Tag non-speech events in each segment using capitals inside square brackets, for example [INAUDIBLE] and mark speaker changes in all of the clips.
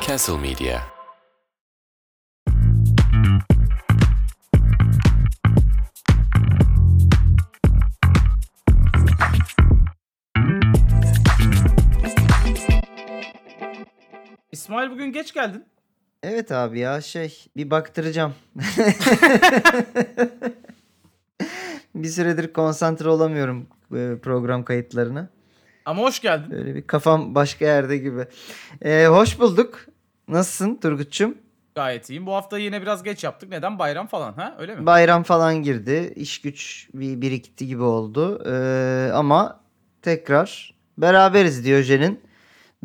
Speaker 1: Castle Media.
Speaker 2: İsmail bugün geç geldin.
Speaker 3: Evet abi ya şey bir baktıracağım. bir süredir konsantre olamıyorum e, program kayıtlarına.
Speaker 2: Ama hoş geldin.
Speaker 3: Böyle bir kafam başka yerde gibi. E, hoş bulduk. Nasılsın Turgut'cum?
Speaker 2: Gayet iyiyim. Bu hafta yine biraz geç yaptık. Neden? Bayram falan ha? Öyle mi?
Speaker 3: Bayram falan girdi. İş güç bir birikti gibi oldu. E, ama tekrar beraberiz Diyojen'in.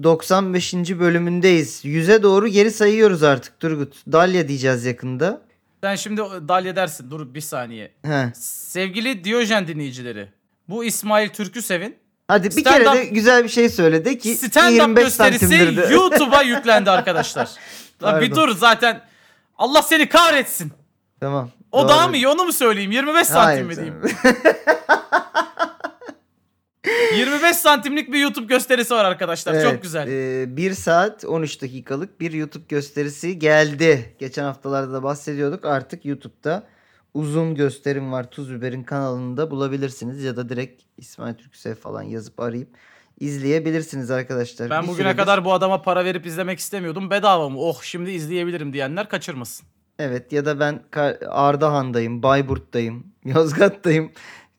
Speaker 3: 95. bölümündeyiz. 100'e doğru geri sayıyoruz artık Turgut. Dalya diyeceğiz yakında.
Speaker 2: Sen şimdi dalya dersin. Dur bir saniye.
Speaker 3: He.
Speaker 2: Sevgili Diyojen dinleyicileri. Bu İsmail Türküsev'in
Speaker 3: Hadi bir
Speaker 2: Stand-up-
Speaker 3: kere de güzel bir şey söyle de ki
Speaker 2: stand-up
Speaker 3: 25
Speaker 2: gösterisi
Speaker 3: santimdir de. [LAUGHS]
Speaker 2: YouTube'a yüklendi arkadaşlar. Lan bir
Speaker 3: Pardon.
Speaker 2: dur zaten. Allah seni kahretsin.
Speaker 3: tamam.
Speaker 2: O
Speaker 3: doğru.
Speaker 2: daha mı iyi onu mu söyleyeyim? 25 santim mi
Speaker 3: Hayır,
Speaker 2: diyeyim? 25 santimlik bir YouTube gösterisi var arkadaşlar. Çok
Speaker 3: Evet,
Speaker 2: güzel.
Speaker 3: E, 1 saat 13 dakikalık bir YouTube gösterisi geldi. Geçen haftalarda da bahsediyorduk. Artık YouTube'da uzun gösterim var. Tuz Biber'in kanalında bulabilirsiniz. Ya da direkt İsmail Türksev falan yazıp arayıp izleyebilirsiniz arkadaşlar.
Speaker 2: Ben
Speaker 3: Bir
Speaker 2: bugüne
Speaker 3: süredir-
Speaker 2: kadar bu adama para verip izlemek istemiyordum. Bedava mı? Oh şimdi izleyebilirim diyenler kaçırmasın.
Speaker 3: Evet ya da ben Ka- Ardahan'dayım, Bayburt'tayım, [LAUGHS] Yozgat'tayım.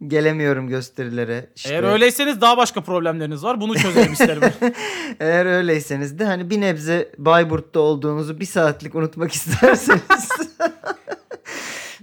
Speaker 3: Gelemiyorum gösterilere. İşte-
Speaker 2: Eğer öyleyseniz daha başka problemleriniz var. Bunu çözelim isterim.
Speaker 3: [LAUGHS] Eğer öyleyseniz de hani bir nebze Bayburt'ta olduğunuzu bir saatlik unutmak [LAUGHS] isterseniz. [LAUGHS]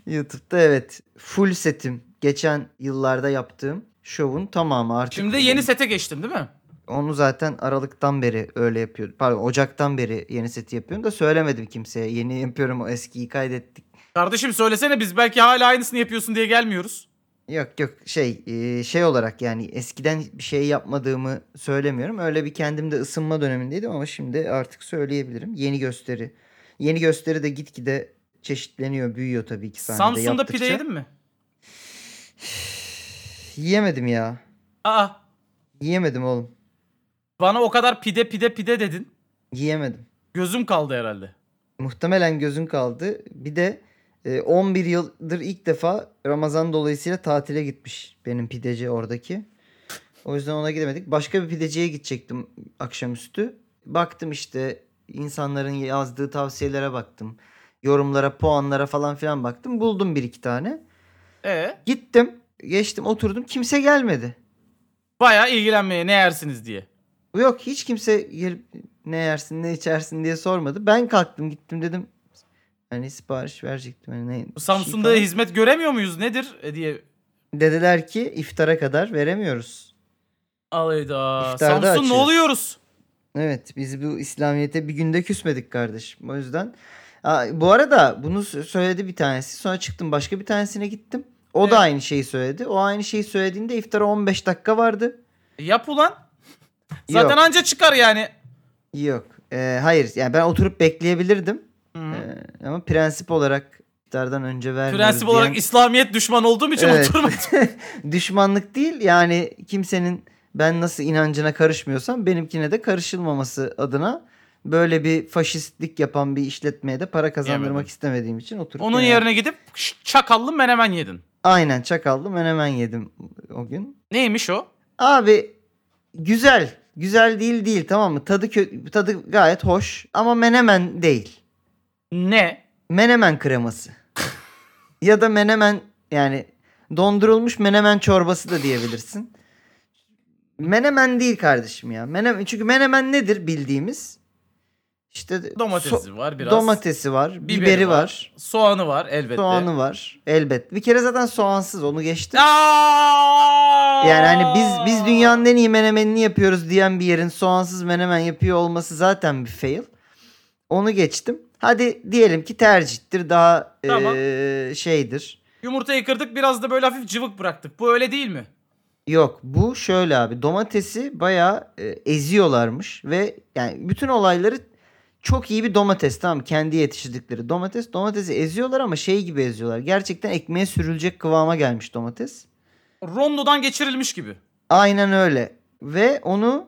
Speaker 3: YouTube'da evet. Full setim. Geçen yıllarda yaptığım şovun tamamı artık.
Speaker 2: Şimdi yeni sete geçtin değil mi?
Speaker 3: Onu zaten Aralık'tan beri öyle yapıyordum. Pardon Ocak'tan beri yeni seti yapıyorum da söylemedim kimseye. Yeni yapıyorum o eskiyi kaydettik.
Speaker 2: Kardeşim söylesene biz belki hala aynısını yapıyorsun diye gelmiyoruz.
Speaker 3: Yok yok şey e, şey olarak yani eskiden bir şey yapmadığımı söylemiyorum. Öyle bir kendimde ısınma dönemindeydim ama şimdi artık söyleyebilirim. Yeni gösteri. Yeni gösteri de gitgide çeşitleniyor, büyüyor tabii ki sahnede
Speaker 2: Samsun'da
Speaker 3: yaptıkça.
Speaker 2: pide yedin mi?
Speaker 3: Yiyemedim ya.
Speaker 2: Aa
Speaker 3: Yiyemedim oğlum.
Speaker 2: bana o kadar pide pide pide dedin.
Speaker 3: Yiyemedim.
Speaker 2: Gözüm kaldı herhalde.
Speaker 3: Muhtemelen gözün kaldı. Bir de e, 11 yıldır ilk defa Ramazan dolayısıyla tatile gitmiş benim pideci oradaki. O yüzden ona gidemedik. Başka bir pideciye gidecektim akşamüstü. Baktım işte insanların yazdığı tavsiyelere baktım. Yorumlara, puanlara falan filan baktım. Buldum bir iki tane.
Speaker 2: E
Speaker 3: Gittim, geçtim, oturdum. Kimse gelmedi.
Speaker 2: bayağı ilgilenmeye ne yersiniz diye.
Speaker 3: Yok hiç kimse gelip ne yersin ne içersin diye sormadı. Ben kalktım gittim dedim. Hani sipariş verecektim. Hani ne,
Speaker 2: Bu
Speaker 3: bir şey
Speaker 2: Samsun'da
Speaker 3: falan.
Speaker 2: hizmet göremiyor muyuz nedir E, diye.
Speaker 3: Dediler ki iftara kadar veremiyoruz.
Speaker 2: Alayda.
Speaker 3: İftarda
Speaker 2: Samsun
Speaker 3: açıyoruz.
Speaker 2: ne oluyoruz?
Speaker 3: Evet biz bu İslamiyet'e bir günde küsmedik kardeşim. O yüzden Aa, bu arada bunu sö- söyledi bir tanesi. Sonra çıktım başka bir tanesine gittim. O
Speaker 2: Evet.
Speaker 3: da aynı şeyi söyledi. O aynı şeyi söylediğinde iftara 15 dakika vardı.
Speaker 2: E, Yap ulan. Zaten
Speaker 3: Yok.
Speaker 2: anca çıkar yani.
Speaker 3: Yok. Ee, hayır. Yani ben oturup bekleyebilirdim.
Speaker 2: Hı.
Speaker 3: Ee, ama prensip olarak iftardan önce vermiyoruz.
Speaker 2: Prensip olarak
Speaker 3: diyen-
Speaker 2: İslamiyet düşman olduğum için
Speaker 3: Evet. [LAUGHS]
Speaker 2: oturmadım.
Speaker 3: düşmanlık değil yani kimsenin ben nasıl inancına karışmıyorsam benimkine de karışılmaması adına böyle bir faşistlik yapan bir işletmeye de para kazandırmak
Speaker 2: Yemedim.
Speaker 3: istemediğim için oturup
Speaker 2: Onun
Speaker 3: yani-
Speaker 2: yerine gidip ş- çakallı menemen yedin.
Speaker 3: aynen çakaldım ben hemen yedim o gün.
Speaker 2: Neymiş o?
Speaker 3: Abi güzel güzel değil değil tamam mı tadı kö- tadı gayet hoş ama menemen değil
Speaker 2: Ne?
Speaker 3: menemen kreması ya da menemen yani dondurulmuş menemen çorbası da diyebilirsin. Menemen değil kardeşim ya. Menemen çünkü menemen nedir bildiğimiz? İşte
Speaker 2: Domatesi
Speaker 3: so-
Speaker 2: var biraz.
Speaker 3: domatesi var, biberi, var,
Speaker 2: Soğanı var elbette.
Speaker 3: soğanı var. Elbet. Bir kere zaten soğansız onu geçtim.
Speaker 2: Aa!
Speaker 3: Yani hani biz biz dünyanın en iyi menemenini yapıyoruz diyen bir yerin soğansız menemen yapıyor olması zaten bir fail. Onu geçtim. Hadi diyelim ki tercihtir daha
Speaker 2: Tamam.
Speaker 3: eee, şeydir.
Speaker 2: Yumurtayı kırdık biraz da böyle hafif cıvık bıraktık. Bu öyle değil mi?
Speaker 3: Yok bu şöyle abi domatesi bayağı e, eziyorlarmış ve yani bütün olayları çok iyi bir domates tamam mı? kendi yetiştirdikleri domates domatesi eziyorlar ama şey gibi eziyorlar gerçekten ekmeğe sürülecek kıvama gelmiş domates.
Speaker 2: Rondodan geçirilmiş gibi.
Speaker 3: Aynen öyle. Ve onu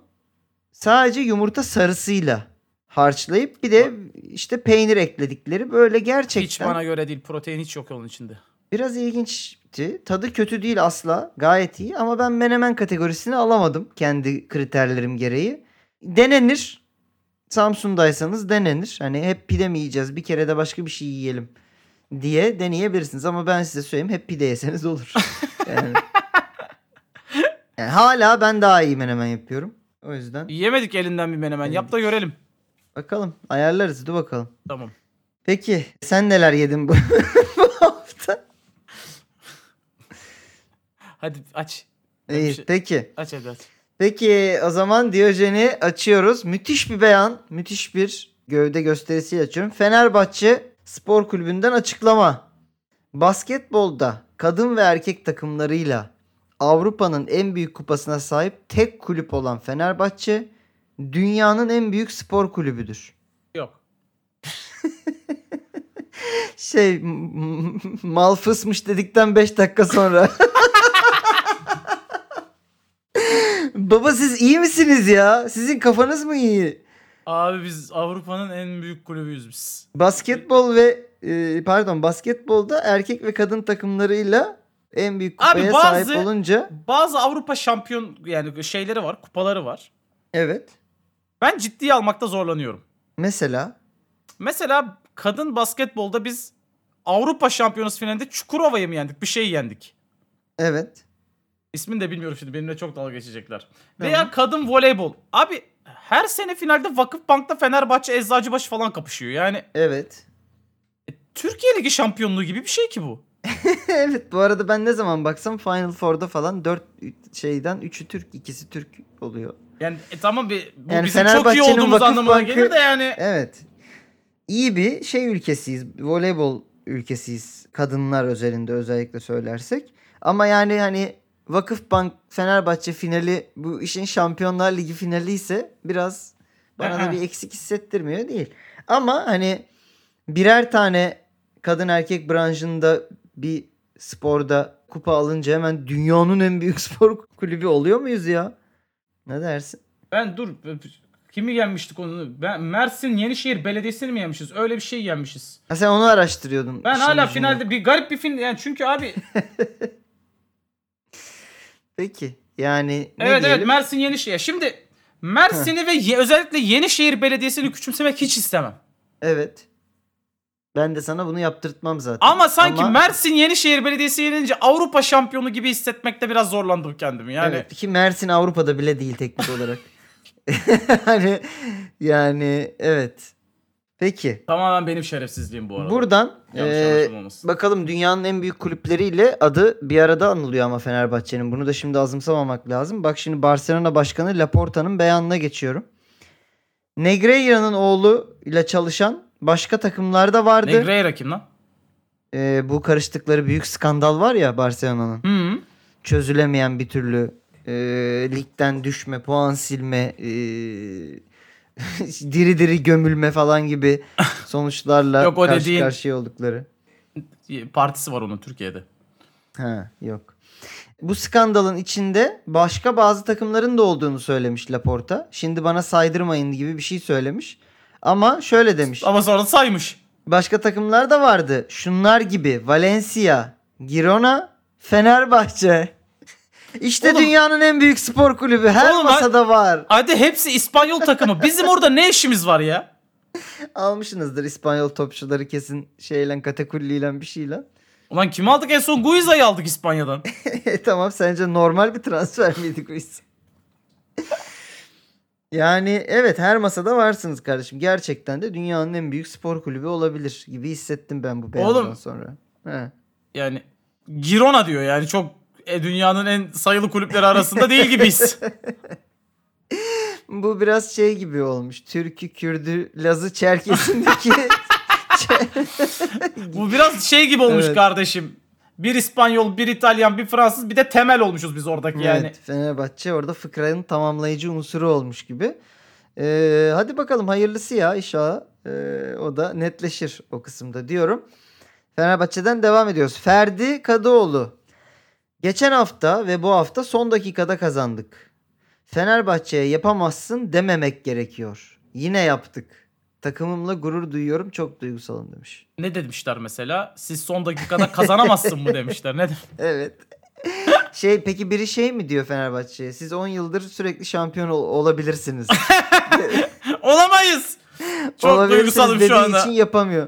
Speaker 3: sadece yumurta sarısıyla harçlayıp bir de işte peynir ekledikleri böyle
Speaker 2: Hiç
Speaker 3: gerçekten
Speaker 2: bana göre değil. Protein hiç yok onun içinde.
Speaker 3: biraz ilginçti. Tadı kötü değil asla. Gayet iyi ama ben menemen kategorisini alamadım kendi kriterlerim gereği. Denenir. Samsun'daysanız denenir. Hani hep pide mi yiyeceğiz bir kere de başka bir şey yiyelim diye deneyebilirsiniz. Ama ben size söyleyeyim hep pide
Speaker 2: [LAUGHS]
Speaker 3: yeseniz olur. Yani, yani hala ben daha iyi menemen yapıyorum. O yüzden
Speaker 2: Yemedik elinden bir menemen. Yap da
Speaker 3: Yemedik.
Speaker 2: görelim.
Speaker 3: bakalım ayarlarız dur bakalım.
Speaker 2: Tamam.
Speaker 3: Peki sen neler yedin bu, [LAUGHS] bu hafta?
Speaker 2: Hadi aç. Ben bir
Speaker 3: İyi
Speaker 2: şey-
Speaker 3: peki.
Speaker 2: Aç hadi aç.
Speaker 3: Peki o zaman Diyojen'i açıyoruz. Müthiş bir beyan, müthiş bir gövde gösterisiyle açıyorum. Fenerbahçe Spor Kulübü'nden açıklama. Basketbolda kadın ve erkek takımlarıyla Avrupa'nın en büyük kupasına sahip tek kulüp olan Fenerbahçe dünyanın en büyük spor kulübüdür.
Speaker 2: Yok.
Speaker 3: Şey m- m- mal fısmış dedikten 5 dakika sonra. [LAUGHS] Baba siz iyi misiniz ya? Sizin kafanız mı iyi?
Speaker 2: Abi biz Avrupa'nın en büyük kulübüyüz biz.
Speaker 3: Basketbol ve e, pardon basketbolda erkek ve kadın takımlarıyla en büyük
Speaker 2: Abi
Speaker 3: kupaya
Speaker 2: bazı-
Speaker 3: sahip olunca
Speaker 2: Bazı Avrupa şampiyon yani şeyleri var, kupaları var.
Speaker 3: evet.
Speaker 2: Ben ciddiye almakta zorlanıyorum.
Speaker 3: Mesela
Speaker 2: Mesela kadın basketbolda biz Avrupa Şampiyonası finalinde Çukurova'yı mı yendik? Bir şey yendik.
Speaker 3: evet.
Speaker 2: İsmini de bilmiyorum şimdi. Benimle çok dalga geçecekler.
Speaker 3: Tamam.
Speaker 2: Veya kadın voleybol. Abi her sene finalde Vakıfbank'ta Fenerbahçe Eczacıbaşı falan kapışıyor. Yani
Speaker 3: Evet. [LAUGHS]
Speaker 2: e, Türkiye Ligi şampiyonluğu gibi bir şey ki bu.
Speaker 3: evet bu arada ben ne zaman baksam Final Four'da falan 4 şeyden 3'ü Türk, ikisi Türk oluyor.
Speaker 2: Yani e, tamam bir bu
Speaker 3: Yani
Speaker 2: bizim çok iyi
Speaker 3: Fenerbahçe'nin
Speaker 2: olduğumuz anlamına
Speaker 3: Vakıfbank'ı-
Speaker 2: gelir de yani.
Speaker 3: Evet. İyi bir şey ülkesiyiz. Voleybol ülkesiyiz. Kadınlar özelinde özellikle söylersek. Ama yani hani Vakıfbank Fenerbahçe finali bu işin Şampiyonlar Ligi finali ise biraz bana da
Speaker 2: Aha.
Speaker 3: bir eksik hissettirmiyor değil. Ama hani birer tane kadın erkek branşında bir sporda kupa alınca hemen dünyanın en büyük [LAUGHS] spor kulübü oluyor muyuz ya? Ne dersin?
Speaker 2: Ben dur kimi yenmiştik onu? Ben Mersin Yenişehir Belediyesi'ni mi yenmişiz? Öyle bir şey yenmişiz.
Speaker 3: Ha, sen onu araştırıyordun.
Speaker 2: Ben
Speaker 3: işin
Speaker 2: hala
Speaker 3: ucunda.
Speaker 2: finalde bir garip bir fin yani çünkü abi
Speaker 3: Peki. Yani ne
Speaker 2: evet evet
Speaker 3: diyelim?
Speaker 2: Mersin Yenişehir. Şimdi Mersin'i ve ye- özellikle Yenişehir Belediyesi'ni küçümsemek hiç istemem.
Speaker 3: Evet. Ben de sana bunu yaptırtmam zaten.
Speaker 2: Ama sanki
Speaker 3: Ama-
Speaker 2: Mersin Yenişehir Belediyesi yenince Avrupa şampiyonu gibi hissetmekte biraz zorlandım kendimi. Yani
Speaker 3: Evet, ki Mersin Avrupa'da bile değil teknik olarak. [LAUGHS] yani yani evet. Peki.
Speaker 2: tamamen benim şerefsizliğim bu arada.
Speaker 3: Buradan
Speaker 2: Yanlış
Speaker 3: eee,
Speaker 2: anlaşılmaması.
Speaker 3: bakalım dünyanın en büyük kulüpleriyle adı bir arada anılıyor ama Fenerbahçe'nin. Bunu da şimdi azımsamamak lazım. Bak şimdi Barcelona Başkanı Laporta'nın beyanına geçiyorum. Negreira'nın oğlu ile çalışan başka takımlar da vardı.
Speaker 2: Negreira kim lan?
Speaker 3: Eee, Ee, bu karıştıkları büyük skandal var ya Barcelona'nın.
Speaker 2: Hı.
Speaker 3: çözülemeyen bir türlü e, ligden düşme, puan silme, e, [LAUGHS] diri diri gömülme
Speaker 2: [LAUGHS]
Speaker 3: falan gibi sonuçlarla
Speaker 2: Yok, o
Speaker 3: karşı
Speaker 2: dediğin-
Speaker 3: karşıya oldukları.
Speaker 2: Partisi var onun Türkiye'de.
Speaker 3: Ha, yok. Bu skandalın içinde başka bazı takımların da olduğunu söylemiş Laporta. Şimdi bana saydırmayın gibi bir şey söylemiş. Ama şöyle demiş.
Speaker 2: Ama sonra saymış.
Speaker 3: Başka takımlar da vardı. Şunlar gibi Valencia, Girona, Fenerbahçe. [LAUGHS] İşte
Speaker 2: Oğlum-
Speaker 3: dünyanın en büyük spor kulübü. Her
Speaker 2: Oğlum ben-
Speaker 3: masada var.
Speaker 2: Hadi hepsi İspanyol takımı. Bizim orada ne işimiz var ya?
Speaker 3: Almışsınızdır İspanyol topçuları kesin şeyle katakulliyle bir şeyle. [LAUGHS]
Speaker 2: Ulan kimi aldık en son? Guiza'yı aldık İspanya'dan.
Speaker 3: E, tamam sence normal bir transfer miydi Chris? [LAUGHS] yani evet her masada varsınız kardeşim. Gerçekten de dünyanın en büyük spor kulübü olabilir gibi hissettim ben bu beyandan
Speaker 2: Oğlum.
Speaker 3: sonra. He.
Speaker 2: Yani Girona diyor yani çok e, dünyanın en sayılı kulüpleri arasında değil gibiyiz.
Speaker 3: Bu biraz şey gibi olmuş. Türkü, Kürdü, Lazı, Çerkes'indeki
Speaker 2: Bu biraz şey gibi olmuş
Speaker 3: Evet.
Speaker 2: kardeşim. Bir İspanyol, bir İtalyan, bir Fransız, bir de temel olmuşuz biz oradaki yani.
Speaker 3: Evet, Fenerbahçe orada fıkranın tamamlayıcı unsuru olmuş gibi. Ee, hadi bakalım hayırlısı ya inşallah. Ee, o da netleşir o kısımda diyorum. Fenerbahçe'den devam ediyoruz. Ferdi Kadıoğlu. Geçen hafta ve bu hafta son dakikada kazandık. Fenerbahçe'ye yapamazsın dememek gerekiyor. Yine yaptık. Takımımla gurur duyuyorum. Çok duygusalım demiş.
Speaker 2: Ne demişler mesela? Siz son dakikada kazanamazsın mı demişler. Ne de-
Speaker 3: Evet. şey peki biri şey mi diyor Fenerbahçe'ye? Siz 10 yıldır sürekli şampiyon ol- olabilirsiniz.
Speaker 2: [LAUGHS] Olamayız. [LAUGHS] Çok
Speaker 3: Olabilirsiniz
Speaker 2: duygusalım
Speaker 3: dediği
Speaker 2: şu anda.
Speaker 3: için yapamıyor.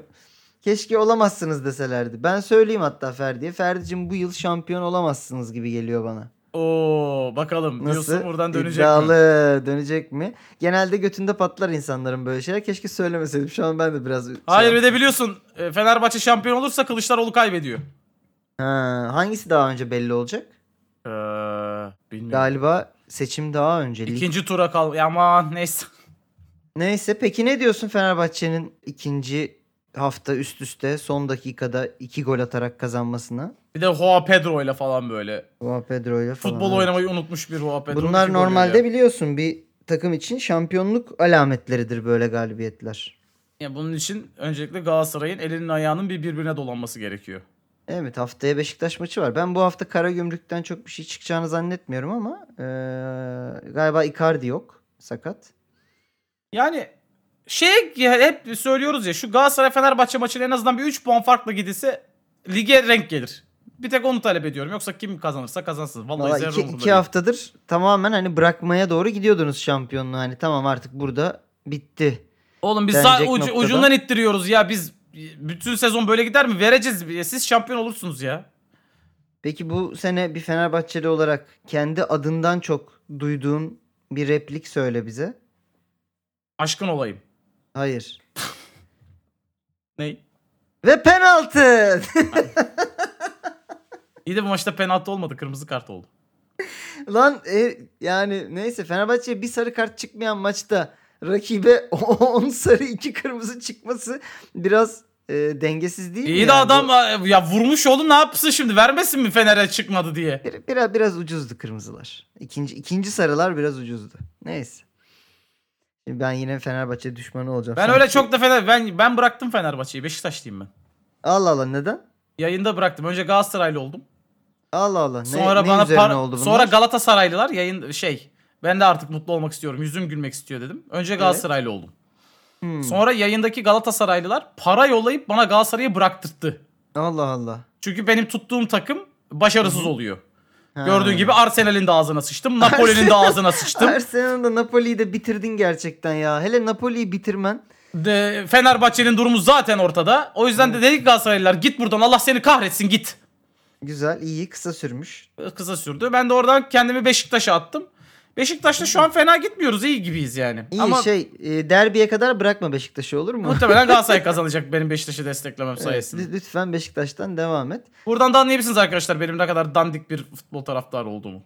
Speaker 3: Keşke olamazsınız deselerdi. Ben söyleyeyim hatta Ferdi'ye. Ferdi'cim bu yıl şampiyon olamazsınız gibi geliyor bana.
Speaker 2: Oo bakalım
Speaker 3: Nasıl?
Speaker 2: Yusuf buradan dönecek mi?
Speaker 3: İddialı. Dönecek mi? Genelde götünde patlar insanların böyle şeyler. Keşke söylemeseydim. Şu an ben de biraz... şey
Speaker 2: Hayır bir
Speaker 3: yaptım.
Speaker 2: de biliyorsun e, Fenerbahçe şampiyon olursa Kılıçdaroğlu kaybediyor.
Speaker 3: Ha, hangisi daha önce belli olacak?
Speaker 2: Ee, bilmiyorum.
Speaker 3: Galiba seçim daha öncelik.
Speaker 2: İkinci tura kal. Ya Aman neyse.
Speaker 3: Neyse peki ne diyorsun Fenerbahçe'nin ikinci hafta üst üste son dakikada iki gol atarak kazanmasına?
Speaker 2: Bir de Joao Pedro ile falan böyle.
Speaker 3: Juan Pedro ile falan.
Speaker 2: Futbol
Speaker 3: evet.
Speaker 2: oynamayı unutmuş bir Joao Pedro.
Speaker 3: Bunlar
Speaker 2: iki gol
Speaker 3: normalde
Speaker 2: yiyor.
Speaker 3: biliyorsun bir takım için şampiyonluk alametleridir böyle galibiyetler.
Speaker 2: Ya bunun için öncelikle Galatasaray'ın elinin ayağının bir birbirine dolanması gerekiyor.
Speaker 3: Evet haftaya Beşiktaş maçı var. Ben bu hafta Karagümrük'ten çok bir şey çıkacağını zannetmiyorum ama eee, galiba Icardi yok sakat.
Speaker 2: Yani şey ya hep söylüyoruz ya şu Galatasaray Fenerbahçe maçına en azından bir 3 puan farkla gidilse lige renk gelir. Bir tek onu talep ediyorum. Yoksa kim kazanırsa kazansın. Vallahi,
Speaker 3: Valla
Speaker 2: zerre
Speaker 3: iki,
Speaker 2: umurumda
Speaker 3: iki
Speaker 2: değil.
Speaker 3: haftadır tamamen hani bırakmaya doğru gidiyordunuz şampiyonluğu. Hani tamam artık burada bitti.
Speaker 2: Oğlum biz sa-
Speaker 3: denecek
Speaker 2: ucu-
Speaker 3: noktada-
Speaker 2: ucundan ittiriyoruz ya. Biz bütün sezon böyle gider mi? Vereceğiz. Siz şampiyon olursunuz ya.
Speaker 3: Peki bu sene bir Fenerbahçeli olarak kendi adından çok duyduğun bir replik söyle bize.
Speaker 2: Aşkın olayım.
Speaker 3: Hayır.
Speaker 2: Ney?
Speaker 3: Ve penaltı. [LAUGHS]
Speaker 2: İyi de bu maçta penaltı olmadı. Kırmızı kart oldu.
Speaker 3: Lan e, yani neyse Fenerbahçe'ye bir sarı kart çıkmayan maçta rakibe [LAUGHS] 10 sarı 2 kırmızı çıkması biraz e, dengesiz değil mi?
Speaker 2: İyi de
Speaker 3: yani?
Speaker 2: adam
Speaker 3: Bu-
Speaker 2: ya vurmuş oğlum ne yapsın şimdi? Vermesin mi Fener'e çıkmadı diye?
Speaker 3: Bir- biraz, biraz ucuzdu kırmızılar. İkinci, ikinci sarılar biraz ucuzdu. Neyse. Şimdi ben yine Fenerbahçe düşmanı olacağım.
Speaker 2: Ben
Speaker 3: Sanki-
Speaker 2: öyle çok da Fener ben ben bıraktım Fenerbahçe'yi. Beşiktaşlıyım ben.
Speaker 3: Allah Allah neden?
Speaker 2: Yayında bıraktım. Önce Galatasaraylı oldum.
Speaker 3: Allah Allah. Ne,
Speaker 2: Sonra
Speaker 3: ne
Speaker 2: bana
Speaker 3: üzerine
Speaker 2: par-
Speaker 3: oldu bunlar?
Speaker 2: sonra Galatasaraylılar yayın şey ben de artık mutlu olmak istiyorum. Yüzüm gülmek istiyor dedim. Önce Galatasaraylı oldum.
Speaker 3: Hmm.
Speaker 2: Sonra yayındaki Galatasaraylılar para yollayıp bana Galatasaray'ı bıraktırttı.
Speaker 3: Allah Allah.
Speaker 2: Çünkü benim tuttuğum takım başarısız oluyor.
Speaker 3: Ha.
Speaker 2: Gördüğün gibi Arsenal'in de ağzına
Speaker 3: [LAUGHS]
Speaker 2: sıçtım. Napoli'nin de ağzına sıçtım.
Speaker 3: Arsenal'da Napoli'yi de bitirdin gerçekten ya. Hele Napoli'yi bitirmen.
Speaker 2: De, Fenerbahçe'nin durumu zaten ortada. O yüzden de dedik Galatasaraylılar git buradan Allah seni kahretsin git.
Speaker 3: Güzel, iyi, kısa sürmüş.
Speaker 2: Kısa sürdü. Ben de oradan kendimi Beşiktaş'a attım. Beşiktaş'ta şu an fena gitmiyoruz. iyi gibiyiz yani.
Speaker 3: İyi
Speaker 2: Ama
Speaker 3: şey, e, derbiye kadar bırakma Beşiktaş'ı olur
Speaker 2: [LAUGHS]
Speaker 3: mu?
Speaker 2: Muhtemelen Galatasaray kazanacak benim Beşiktaş'ı desteklemem
Speaker 3: [LAUGHS] Evet,
Speaker 2: sayesinde.
Speaker 3: lü- Lütfen Beşiktaş'tan devam et.
Speaker 2: Buradan da anlayabilirsiniz arkadaşlar benim ne kadar dandik bir futbol taraftarı olduğumu.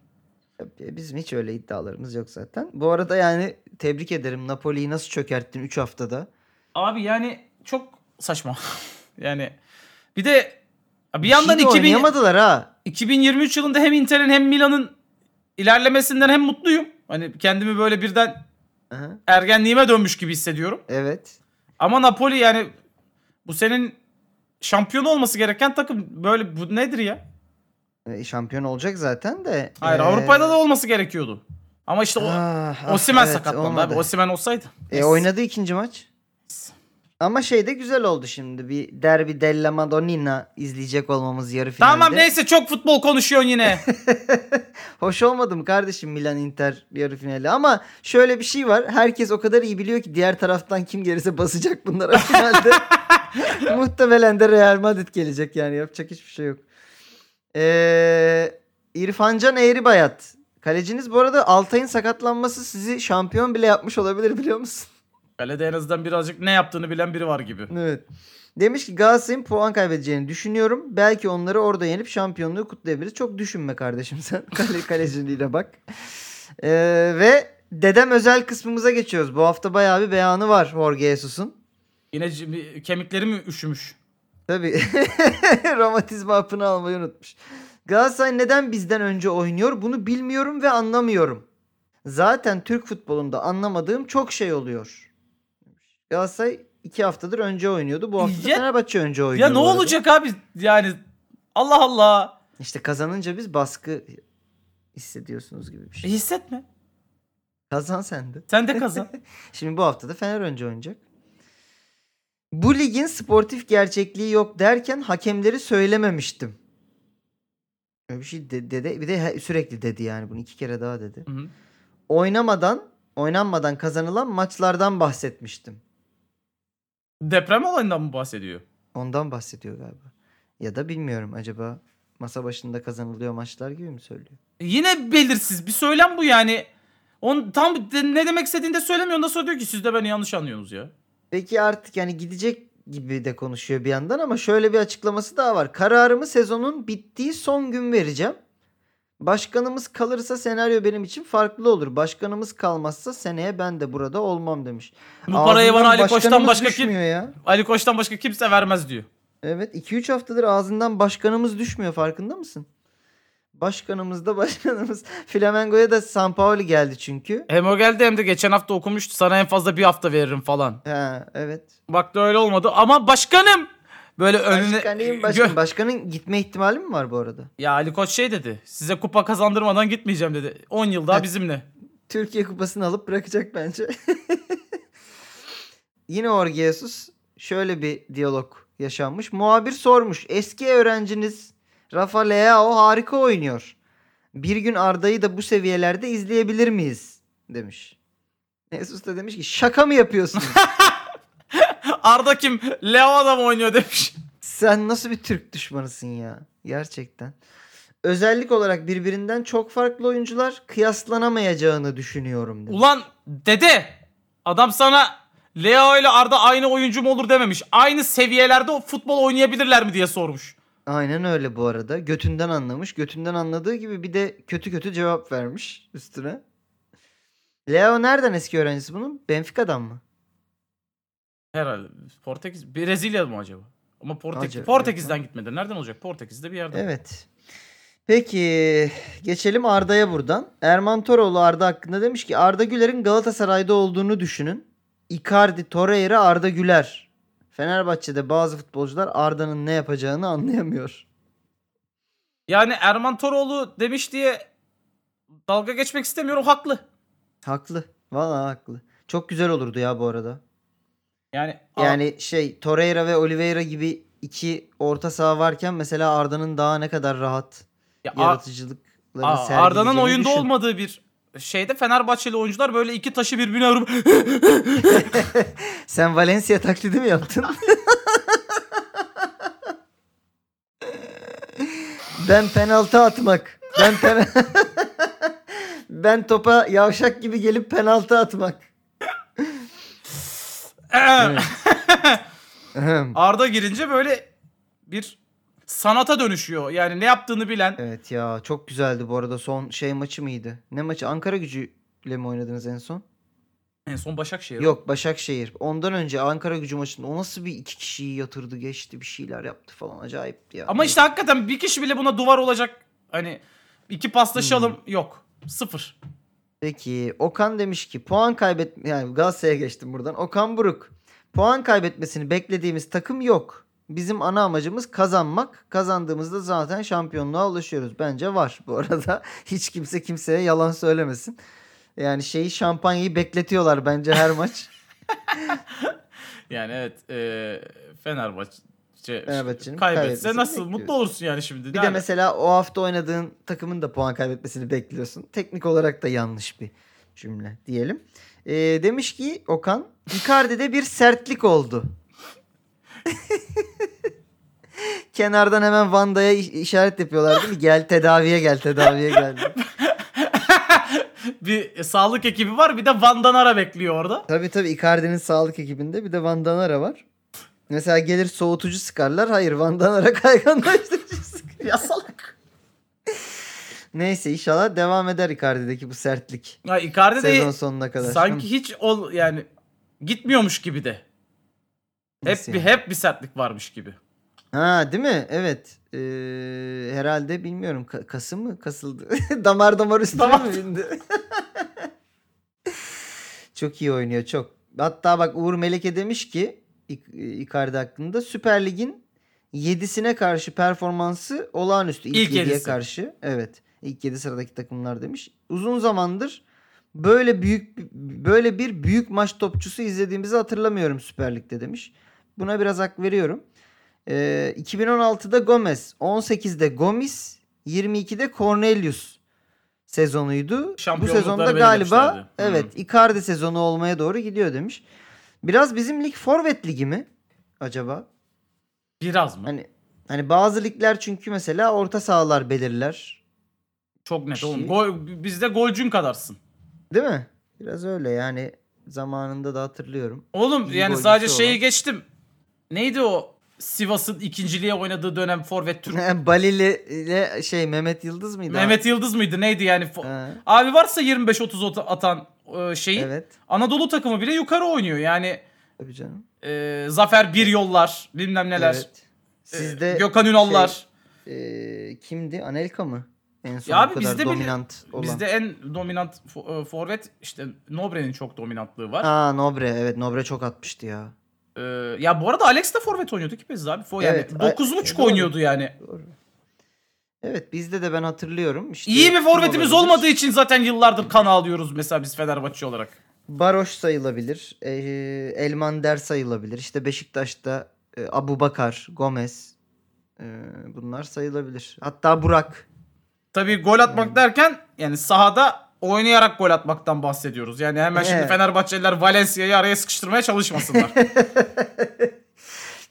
Speaker 3: E, Bizim hiç öyle iddialarımız yok zaten. Bu arada yani tebrik ederim Napoli'yi nasıl çökerttin 3 haftada.
Speaker 2: Abi yani çok saçma. [LAUGHS] yani bir de bir
Speaker 3: Bir
Speaker 2: yandan
Speaker 3: şey de
Speaker 2: 2000,
Speaker 3: oynayamadılar ha.
Speaker 2: 2023 yılında hem Inter'in hem Milan'ın ilerlemesinden hem mutluyum. Hani kendimi böyle birden
Speaker 3: Aha,
Speaker 2: ergenliğime dönmüş gibi hissediyorum.
Speaker 3: Evet.
Speaker 2: Ama Napoli yani bu senin şampiyon olması gereken takım böyle bu nedir ya?
Speaker 3: E, Şampiyon olacak zaten de.
Speaker 2: Hayır
Speaker 3: e,
Speaker 2: Avrupa'da da olması gerekiyordu. Ama işte o,
Speaker 3: ah, ah,
Speaker 2: Osimen
Speaker 3: evet,
Speaker 2: sakatlandı
Speaker 3: olmadı.
Speaker 2: abi. Osimen olsaydı.
Speaker 3: E, oynadı ikinci maç. Ama şey de güzel oldu şimdi. Bir derbi della Madonnina izleyecek olmamız yarı finalde.
Speaker 2: Tamam neyse çok futbol konuşuyorsun yine. [LAUGHS]
Speaker 3: Hoş olmadı mı kardeşim Milan Inter yarı finali? Ama şöyle bir şey var. Herkes o kadar iyi biliyor ki diğer taraftan kim gelirse basacak bunlara [LAUGHS] finalde. Muhtemelen de Real Madrid gelecek yani. Yapacak hiçbir şey yok. Ee, İrfancan Eğri Bayat. Kaleciniz bu arada Altay'ın sakatlanması sizi şampiyon bile yapmış olabilir biliyor musun?
Speaker 2: Kalede en azından birazcık ne yaptığını bilen biri var gibi.
Speaker 3: Evet. Demiş ki Galatasaray'ın puan kaybedeceğini düşünüyorum. Belki onları orada yenip şampiyonluğu kutlayabiliriz. Çok düşünme kardeşim sen. [LAUGHS] Kale, kaleciliğine bak. Ee, ve dedem özel kısmımıza geçiyoruz. Bu hafta bayağı bir beyanı var Jorge Jesus'un.
Speaker 2: Yine c- kemikleri mi üşümüş?
Speaker 3: Tabii. [LAUGHS] Romatizma hapını almayı unutmuş. Galatasaray neden bizden önce oynuyor bunu bilmiyorum ve anlamıyorum. Zaten Türk futbolunda anlamadığım çok şey oluyor. Galatasaray iki haftadır önce oynuyordu. Bu hafta
Speaker 2: Ya-
Speaker 3: Fenerbahçe önce oynuyor.
Speaker 2: Ya ne
Speaker 3: bu arada.
Speaker 2: olacak abi yani Allah Allah.
Speaker 3: İşte kazanınca biz baskı hissediyorsunuz gibi bir
Speaker 2: E,
Speaker 3: şey.
Speaker 2: hissetme.
Speaker 3: Kazan sen de.
Speaker 2: Sen de kazan.
Speaker 3: [LAUGHS] Şimdi bu hafta da Fener önce oynayacak. Bu ligin sportif gerçekliği yok derken hakemleri söylememiştim. Öyle bir şey de- dedi. Bir de he- sürekli dedi yani bunu iki kere daha dedi.
Speaker 2: Hı hı.
Speaker 3: Oynamadan, oynanmadan kazanılan maçlardan bahsetmiştim.
Speaker 2: Deprem olayından mı bahsediyor?
Speaker 3: Ondan bahsediyor galiba. Ya da bilmiyorum acaba masa başında kazanılıyor maçlar gibi mi söylüyor?
Speaker 2: E, Yine belirsiz bir söylem bu yani. On tam de- ne demek istediğini de söylemiyor. Ondan sonra diyor ki siz de beni yanlış anlıyorsunuz ya.
Speaker 3: Peki artık yani gidecek gibi de konuşuyor bir yandan ama şöyle bir açıklaması daha var. Kararımı sezonun bittiği son gün vereceğim. Başkanımız kalırsa senaryo benim için farklı olur. Başkanımız kalmazsa seneye ben de burada olmam demiş.
Speaker 2: Bu parayı bana
Speaker 3: Ağzından
Speaker 2: Ali Koç'tan
Speaker 3: başkanımız
Speaker 2: başka kim
Speaker 3: düşmüyor ya.
Speaker 2: Ali Koç'tan başka kimse vermez diyor.
Speaker 3: Evet 2-3 haftadır ağzından başkanımız düşmüyor farkında mısın? Başkanımız da başkanımız. [LAUGHS] Flamengo'ya da Sampaoli geldi çünkü.
Speaker 2: Hem o geldi E, hem de geçen hafta okumuştu. Sana en fazla bir hafta veririm falan.
Speaker 3: Ha, evet.
Speaker 2: Bak da öyle olmadı ama başkanım böyle önüne
Speaker 3: Başkanıyım
Speaker 2: Gö- [LAUGHS]
Speaker 3: başkan. Başkanın gitme ihtimali mi var bu arada?
Speaker 2: Ya Ali Koç şey dedi. Size kupa kazandırmadan gitmeyeceğim dedi. 10 yıl daha
Speaker 3: Evet.
Speaker 2: bizimle. [LAUGHS]
Speaker 3: Türkiye kupasını alıp bırakacak bence. [LAUGHS] Yine Orgeasus şöyle bir diyalog yaşanmış. Muhabir sormuş. Eski öğrenciniz Rafa Leao harika oynuyor. Bir gün Arda'yı da bu seviyelerde izleyebilir miyiz? Demiş. Jesus da demiş ki şaka mı yapıyorsun?
Speaker 2: Arda kim? Leo adam oynuyor demiş.
Speaker 3: Sen nasıl bir Türk düşmanısın ya? Gerçekten. Özellik olarak birbirinden çok farklı oyuncular kıyaslanamayacağını düşünüyorum. Demiş.
Speaker 2: Ulan dede adam sana Leo ile Arda aynı oyuncu mu olur dememiş. Aynı seviyelerde o futbol oynayabilirler mi diye sormuş.
Speaker 3: Aynen öyle bu arada. Götünden anlamış. Götünden anladığı gibi bir de kötü kötü cevap vermiş üstüne. Leo nereden eski öğrencisi bunun? Benfica'dan mı?
Speaker 2: Herhalde Portekiz Brezilya mı acaba? Ama Portekiz
Speaker 3: Acaba,
Speaker 2: Portekiz'den gitmedi. Nereden olacak? Portekiz'de bir yerde.
Speaker 3: Evet. Peki geçelim Arda'ya buradan. Erman Toroğlu Arda hakkında demiş ki Arda Güler'in Galatasaray'da olduğunu düşünün. Icardi, Torreira, Arda Güler. Fenerbahçe'de bazı futbolcular Arda'nın ne yapacağını anlayamıyor.
Speaker 2: Yani Erman Toroğlu demiş diye dalga geçmek istemiyorum haklı.
Speaker 3: Haklı. Vallahi haklı. Çok güzel olurdu ya bu arada.
Speaker 2: Yani yani
Speaker 3: Yani şey Torreira ve Oliveira gibi iki orta saha varken mesela Arda'nın daha ne kadar rahat yaratıcılıklarını
Speaker 2: Aa,
Speaker 3: sergileyeceğini
Speaker 2: Arda'nın oyunda
Speaker 3: düşün.
Speaker 2: olmadığı bir şeyde Fenerbahçeli oyuncular böyle iki taşı birbirine vurup [LAUGHS]
Speaker 3: Sen Valencia taklidi mi yaptın? [LAUGHS] ben penaltı atmak. Ben pen- [LAUGHS] ben topa yavşak gibi gelip penaltı atmak. Ahem.
Speaker 2: Arda girince böyle bir sanata dönüşüyor. Yani ne yaptığını bilen.
Speaker 3: evet ya çok güzeldi bu arada son şey maçı mıydı? Ne maçı? Ankara Gücü'yle mi oynadınız en son?
Speaker 2: En son Başakşehir.
Speaker 3: Yok Başakşehir. Ondan önce Ankara gücü maçında o nasıl bir iki kişiyi yatırdı geçti bir şeyler yaptı falan acayipti ya.
Speaker 2: Ama işte hakikaten bir kişi bile buna duvar olacak. Hani iki paslaşalım
Speaker 3: Hmm.
Speaker 2: yok. Sıfır.
Speaker 3: Peki Okan demiş ki puan kaybet yani Galatasaray'a geçtim buradan. Okan Buruk. Puan kaybetmesini beklediğimiz takım yok. Bizim ana amacımız kazanmak. Kazandığımızda zaten şampiyonluğa ulaşıyoruz. Bence var bu arada. [LAUGHS] Hiç kimse kimseye yalan söylemesin. Yani şeyi şampanyayı bekletiyorlar bence
Speaker 2: [LAUGHS]
Speaker 3: her maç.
Speaker 2: Yani evet e, Fenerbahçe
Speaker 3: Fenerbahçe'nin
Speaker 2: kaybetse
Speaker 3: kaybetmesini
Speaker 2: nasıl
Speaker 3: bekliyoruz.
Speaker 2: mutlu olursun yani şimdi.
Speaker 3: Bir de
Speaker 2: Yani
Speaker 3: mesela o hafta oynadığın takımın da puan kaybetmesini bekliyorsun. Teknik olarak da yanlış bir cümle diyelim. Ee, demiş ki Okan, Icardi'de bir sertlik oldu. [LAUGHS] Kenardan hemen Vanda'ya iş- işaret yapıyorlar değil mi? Gel tedaviye gel tedaviye gel.
Speaker 2: [LAUGHS] bir sağlık ekibi var bir de Vandanara bekliyor
Speaker 3: [LAUGHS]
Speaker 2: orada.
Speaker 3: tabii tabii Icardi'nin sağlık ekibinde bir de Vandanara var. Mesela gelir soğutucu sıkarlar. Hayır Vandanara kayganlaştırıcı [LAUGHS] sıkar.
Speaker 2: Ya salak.
Speaker 3: Neyse inşallah devam eder Icardi'deki bu sertlik.
Speaker 2: Ya Icardi de
Speaker 3: Sezon sonuna kadar.
Speaker 2: sanki hiç ol yani gitmiyormuş gibi de. Hep
Speaker 3: Nasıl
Speaker 2: bir
Speaker 3: yani?
Speaker 2: hep bir sertlik varmış gibi.
Speaker 3: Ha değil mi? Evet. Ee, herhalde bilmiyorum. Ka- kası mı? Kasıldı. [LAUGHS] damar damar üstüne
Speaker 2: Damar-
Speaker 3: mi bindi? [LAUGHS] çok iyi oynuyor çok. Hatta bak Uğur Meleke demiş ki İk- Icardi hakkında Süper Lig'in 7'sine karşı performansı olağanüstü. İlk,
Speaker 2: İlk
Speaker 3: 7'ye
Speaker 2: yedisi.
Speaker 3: karşı. Evet. İlk 7 sıradaki takımlar demiş. Uzun zamandır böyle büyük böyle bir büyük maç topçusu izlediğimizi hatırlamıyorum Süper Lig'de demiş. Buna biraz hak veriyorum. Ee, 2016'da Gomez, 18'de Gomis, 22'de Cornelius sezonuydu. Bu
Speaker 2: Şampiyonlukları
Speaker 3: sezonda galiba
Speaker 2: belirlemişlerdi. Hmm. Hı hı.
Speaker 3: evet Icardi sezonu olmaya doğru gidiyor demiş. Biraz bizim lig forvet ligi mi acaba?
Speaker 2: Biraz mı?
Speaker 3: Hani hani bazı ligler çünkü mesela orta sahalar belirler.
Speaker 2: Çok net oğlum.
Speaker 3: Şey-
Speaker 2: Gol, bizde golcün kadarsın.
Speaker 3: Değil mi? Biraz öyle yani zamanında da hatırlıyorum. [LAUGHS]
Speaker 2: Oğlum
Speaker 3: İyi
Speaker 2: yani
Speaker 3: golcüsü
Speaker 2: sadece şeyi
Speaker 3: olan.
Speaker 2: geçtim. Neydi o Sivas'ın ikinciliğe oynadığı dönem forvet Türk?
Speaker 3: Balili ile şey Mehmet Yıldız mıydı?
Speaker 2: Mehmet Yıldız mıydı neydi yani? Fo-
Speaker 3: Ha,
Speaker 2: Abi varsa 25-30 ota- atan e, şeyi.
Speaker 3: evet.
Speaker 2: Anadolu takımı bile yukarı oynuyor. Yani
Speaker 3: Tabii canım.
Speaker 2: e, Zafer Bir Yollar bilmem neler.
Speaker 3: Evet.
Speaker 2: e,
Speaker 3: Sizde şey-
Speaker 2: Gökhan Ünallar.
Speaker 3: e, kimdi? Anelka mı? En son
Speaker 2: Ya abi
Speaker 3: bu kadar
Speaker 2: bizde bile-
Speaker 3: dominant olan.
Speaker 2: Bizde en dominant fo- e, forvet işte Nobre'nin çok dominantlığı var.
Speaker 3: Aa Nobre evet Nobre çok atmıştı ya.
Speaker 2: E, ya bu arada Alex de forvet oynuyordu ki biz abi. Fo- yani
Speaker 3: Evet, a-
Speaker 2: 9.5
Speaker 3: doğru.
Speaker 2: oynuyordu yani.
Speaker 3: Doğru. Evet bizde de ben hatırlıyorum. İşte
Speaker 2: İyi bir
Speaker 3: kim
Speaker 2: forvetimiz
Speaker 3: olabilir?
Speaker 2: olmadığı için zaten yıllardır kan ağlıyoruz mesela biz Fenerbahçe olarak.
Speaker 3: Baroş sayılabilir. E, Elman Der sayılabilir. İşte Beşiktaş'ta e, Abu Bakar, Gomez. e, bunlar sayılabilir. Hatta Burak.
Speaker 2: Tabii gol atmak
Speaker 3: Yani.
Speaker 2: derken yani sahada oynayarak gol atmaktan bahsediyoruz. Yani hemen şimdi
Speaker 3: Evet.
Speaker 2: Fenerbahçeliler Valencia'yı araya sıkıştırmaya
Speaker 3: [LAUGHS]
Speaker 2: çalışmasınlar.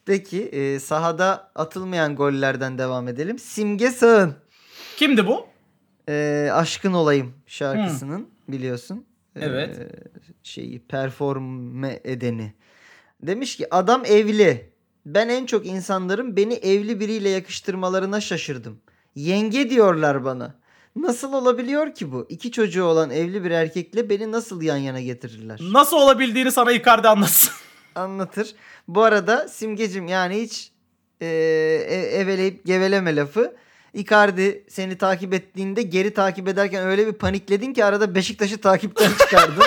Speaker 3: Peki e, sahada atılmayan gollerden devam edelim. Simge Sağın.
Speaker 2: Kimdi bu?
Speaker 3: E, Aşkın Olayım şarkısının biliyorsun. e,
Speaker 2: Evet.
Speaker 3: şeyi performe edeni. Demiş ki adam evli. Ben en çok insanların beni evli biriyle yakıştırmalarına şaşırdım. Yenge diyorlar bana. Nasıl olabiliyor ki bu? İki çocuğu olan evli bir erkekle beni nasıl yan yana getirirler?
Speaker 2: Nasıl olabildiğini sana Icardi anlatsın. [LAUGHS]
Speaker 3: anlatır. Bu arada Simgecim yani hiç e, e- eveleyip geveleme lafı. Icardi seni takip ettiğinde geri takip ederken öyle bir panikledin ki arada Beşiktaş'ı takipten çıkardın.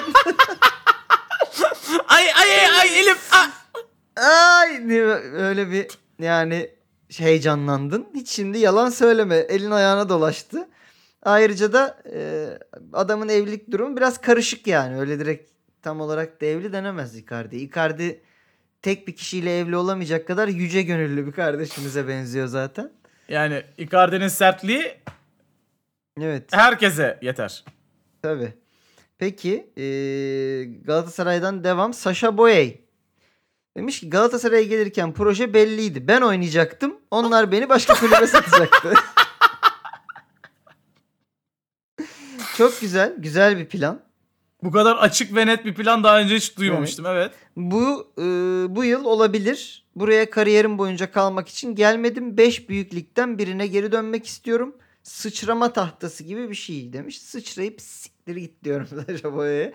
Speaker 2: ay ay ay, ay Elif. ah!
Speaker 3: Ay diye öyle bir yani heyecanlandın. Hiç şimdi yalan söyleme. Elin ayağına dolaştı. Ayrıca da e, adamın evlilik durumu biraz karışık yani. Öyle direkt tam olarak da evli denemez Icardi. Icardi tek bir kişiyle evli olamayacak kadar yüce gönüllü bir kardeşimize benziyor zaten.
Speaker 2: Yani Icardi'nin sertliği
Speaker 3: Evet
Speaker 2: herkese yeter.
Speaker 3: tabii. Peki e, Galatasaray'dan devam. Sasha Boye. Demiş ki Galatasaray'a gelirken proje belliydi. Ben oynayacaktım. Onlar beni başka kulübe satacaktı. [LAUGHS] Çok güzel. Güzel bir plan.
Speaker 2: Bu kadar açık ve net bir plan daha önce hiç
Speaker 3: E,
Speaker 2: duymamıştım. Evet.
Speaker 3: Bu e, bu yıl olabilir. Buraya kariyerim boyunca kalmak için gelmedim. 5 büyük ligden birine geri dönmek istiyorum. Sıçrama tahtası gibi bir şey demiş. Sıçrayıp siktir git diyorum [LAUGHS] Sasha Boye'ye.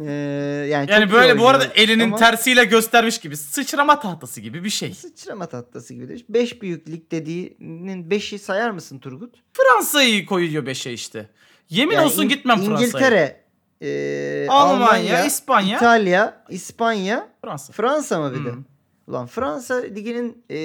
Speaker 3: E, yani
Speaker 2: Yani
Speaker 3: çok iyi
Speaker 2: böyle bu arada
Speaker 3: oynuyor
Speaker 2: elinin
Speaker 3: ama-
Speaker 2: tersiyle göstermiş gibi sıçrama tahtası gibi bir şey.
Speaker 3: Sıçrama tatlısı gibi demiş. 5 büyük lig dediğinin 5'i sayar mısın Turgut?
Speaker 2: Fransa'yı koyuyor beşe işte. Yemin
Speaker 3: Yani
Speaker 2: olsun
Speaker 3: İng-
Speaker 2: gitmem Fransa'ya.
Speaker 3: İngiltere, e,
Speaker 2: Almanya,
Speaker 3: Almanya,
Speaker 2: İspanya.
Speaker 3: İtalya, İspanya,
Speaker 2: Fransa.
Speaker 3: Fransa mı bir de?
Speaker 2: Hmm.
Speaker 3: Ulan Fransa liginin e,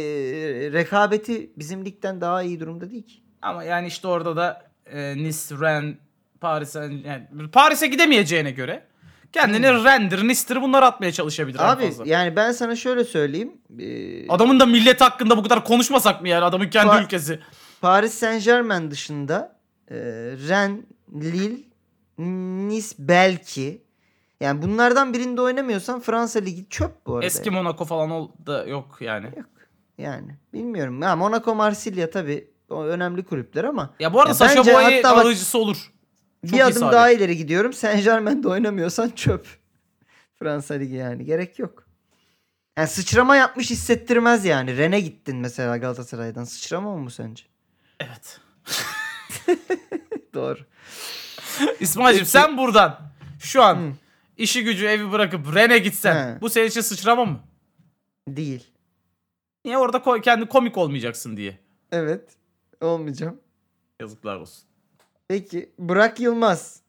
Speaker 3: rekabeti bizim ligden daha iyi durumda değil ki.
Speaker 2: Ama yani işte orada da e, Nice, Rennes, Paris'e yani Paris'e gidemeyeceğine göre kendini Rennes'tir, Nice'tir bunlar atmaya çalışabilir en
Speaker 3: Hmm. Abi
Speaker 2: fazla.
Speaker 3: yani ben sana şöyle söyleyeyim. E,
Speaker 2: Adamın da millet hakkında bu kadar konuşmasak mı yani adamın kendi
Speaker 3: Fa-
Speaker 2: ülkesi.
Speaker 3: Paris Saint Germain dışında e, Rennes, Lille, Nice belki. Yani bunlardan birinde oynamıyorsan Fransa ligi çöp bu arada.
Speaker 2: Eski Monaco falan ol da yok yani.
Speaker 3: Yani bilmiyorum. Ya Monaco, Marsilya tabii o önemli kulüpler ama
Speaker 2: Ya bu arada
Speaker 3: Ya
Speaker 2: Sacha
Speaker 3: bence
Speaker 2: Boey
Speaker 3: hatta bak-
Speaker 2: alıcısı olur. Çok iyi
Speaker 3: bir adım
Speaker 2: sahip.
Speaker 3: daha ileri gidiyorum. Saint Germain'de oynamıyorsan çöp. [LAUGHS] Fransa Ligi yani gerek yok. Yani sıçrama yapmış hissettirmez yani. Ren'e gittin mesela Galatasaray'dan. Sıçrama mı bu sence?
Speaker 2: Evet.
Speaker 3: Doğru.
Speaker 2: İsmail'cim
Speaker 3: Peki.
Speaker 2: sen buradan şu an
Speaker 3: Hı.
Speaker 2: işi gücü evi bırakıp Ren'e gitsen
Speaker 3: He.
Speaker 2: bu senin için sıçrama mı?
Speaker 3: Değil.
Speaker 2: Niye orada ko- kendi komik olmayacaksın diye.
Speaker 3: Evet. Olmayacağım.
Speaker 2: Yazıklar olsun.
Speaker 3: Peki Burak Yılmaz.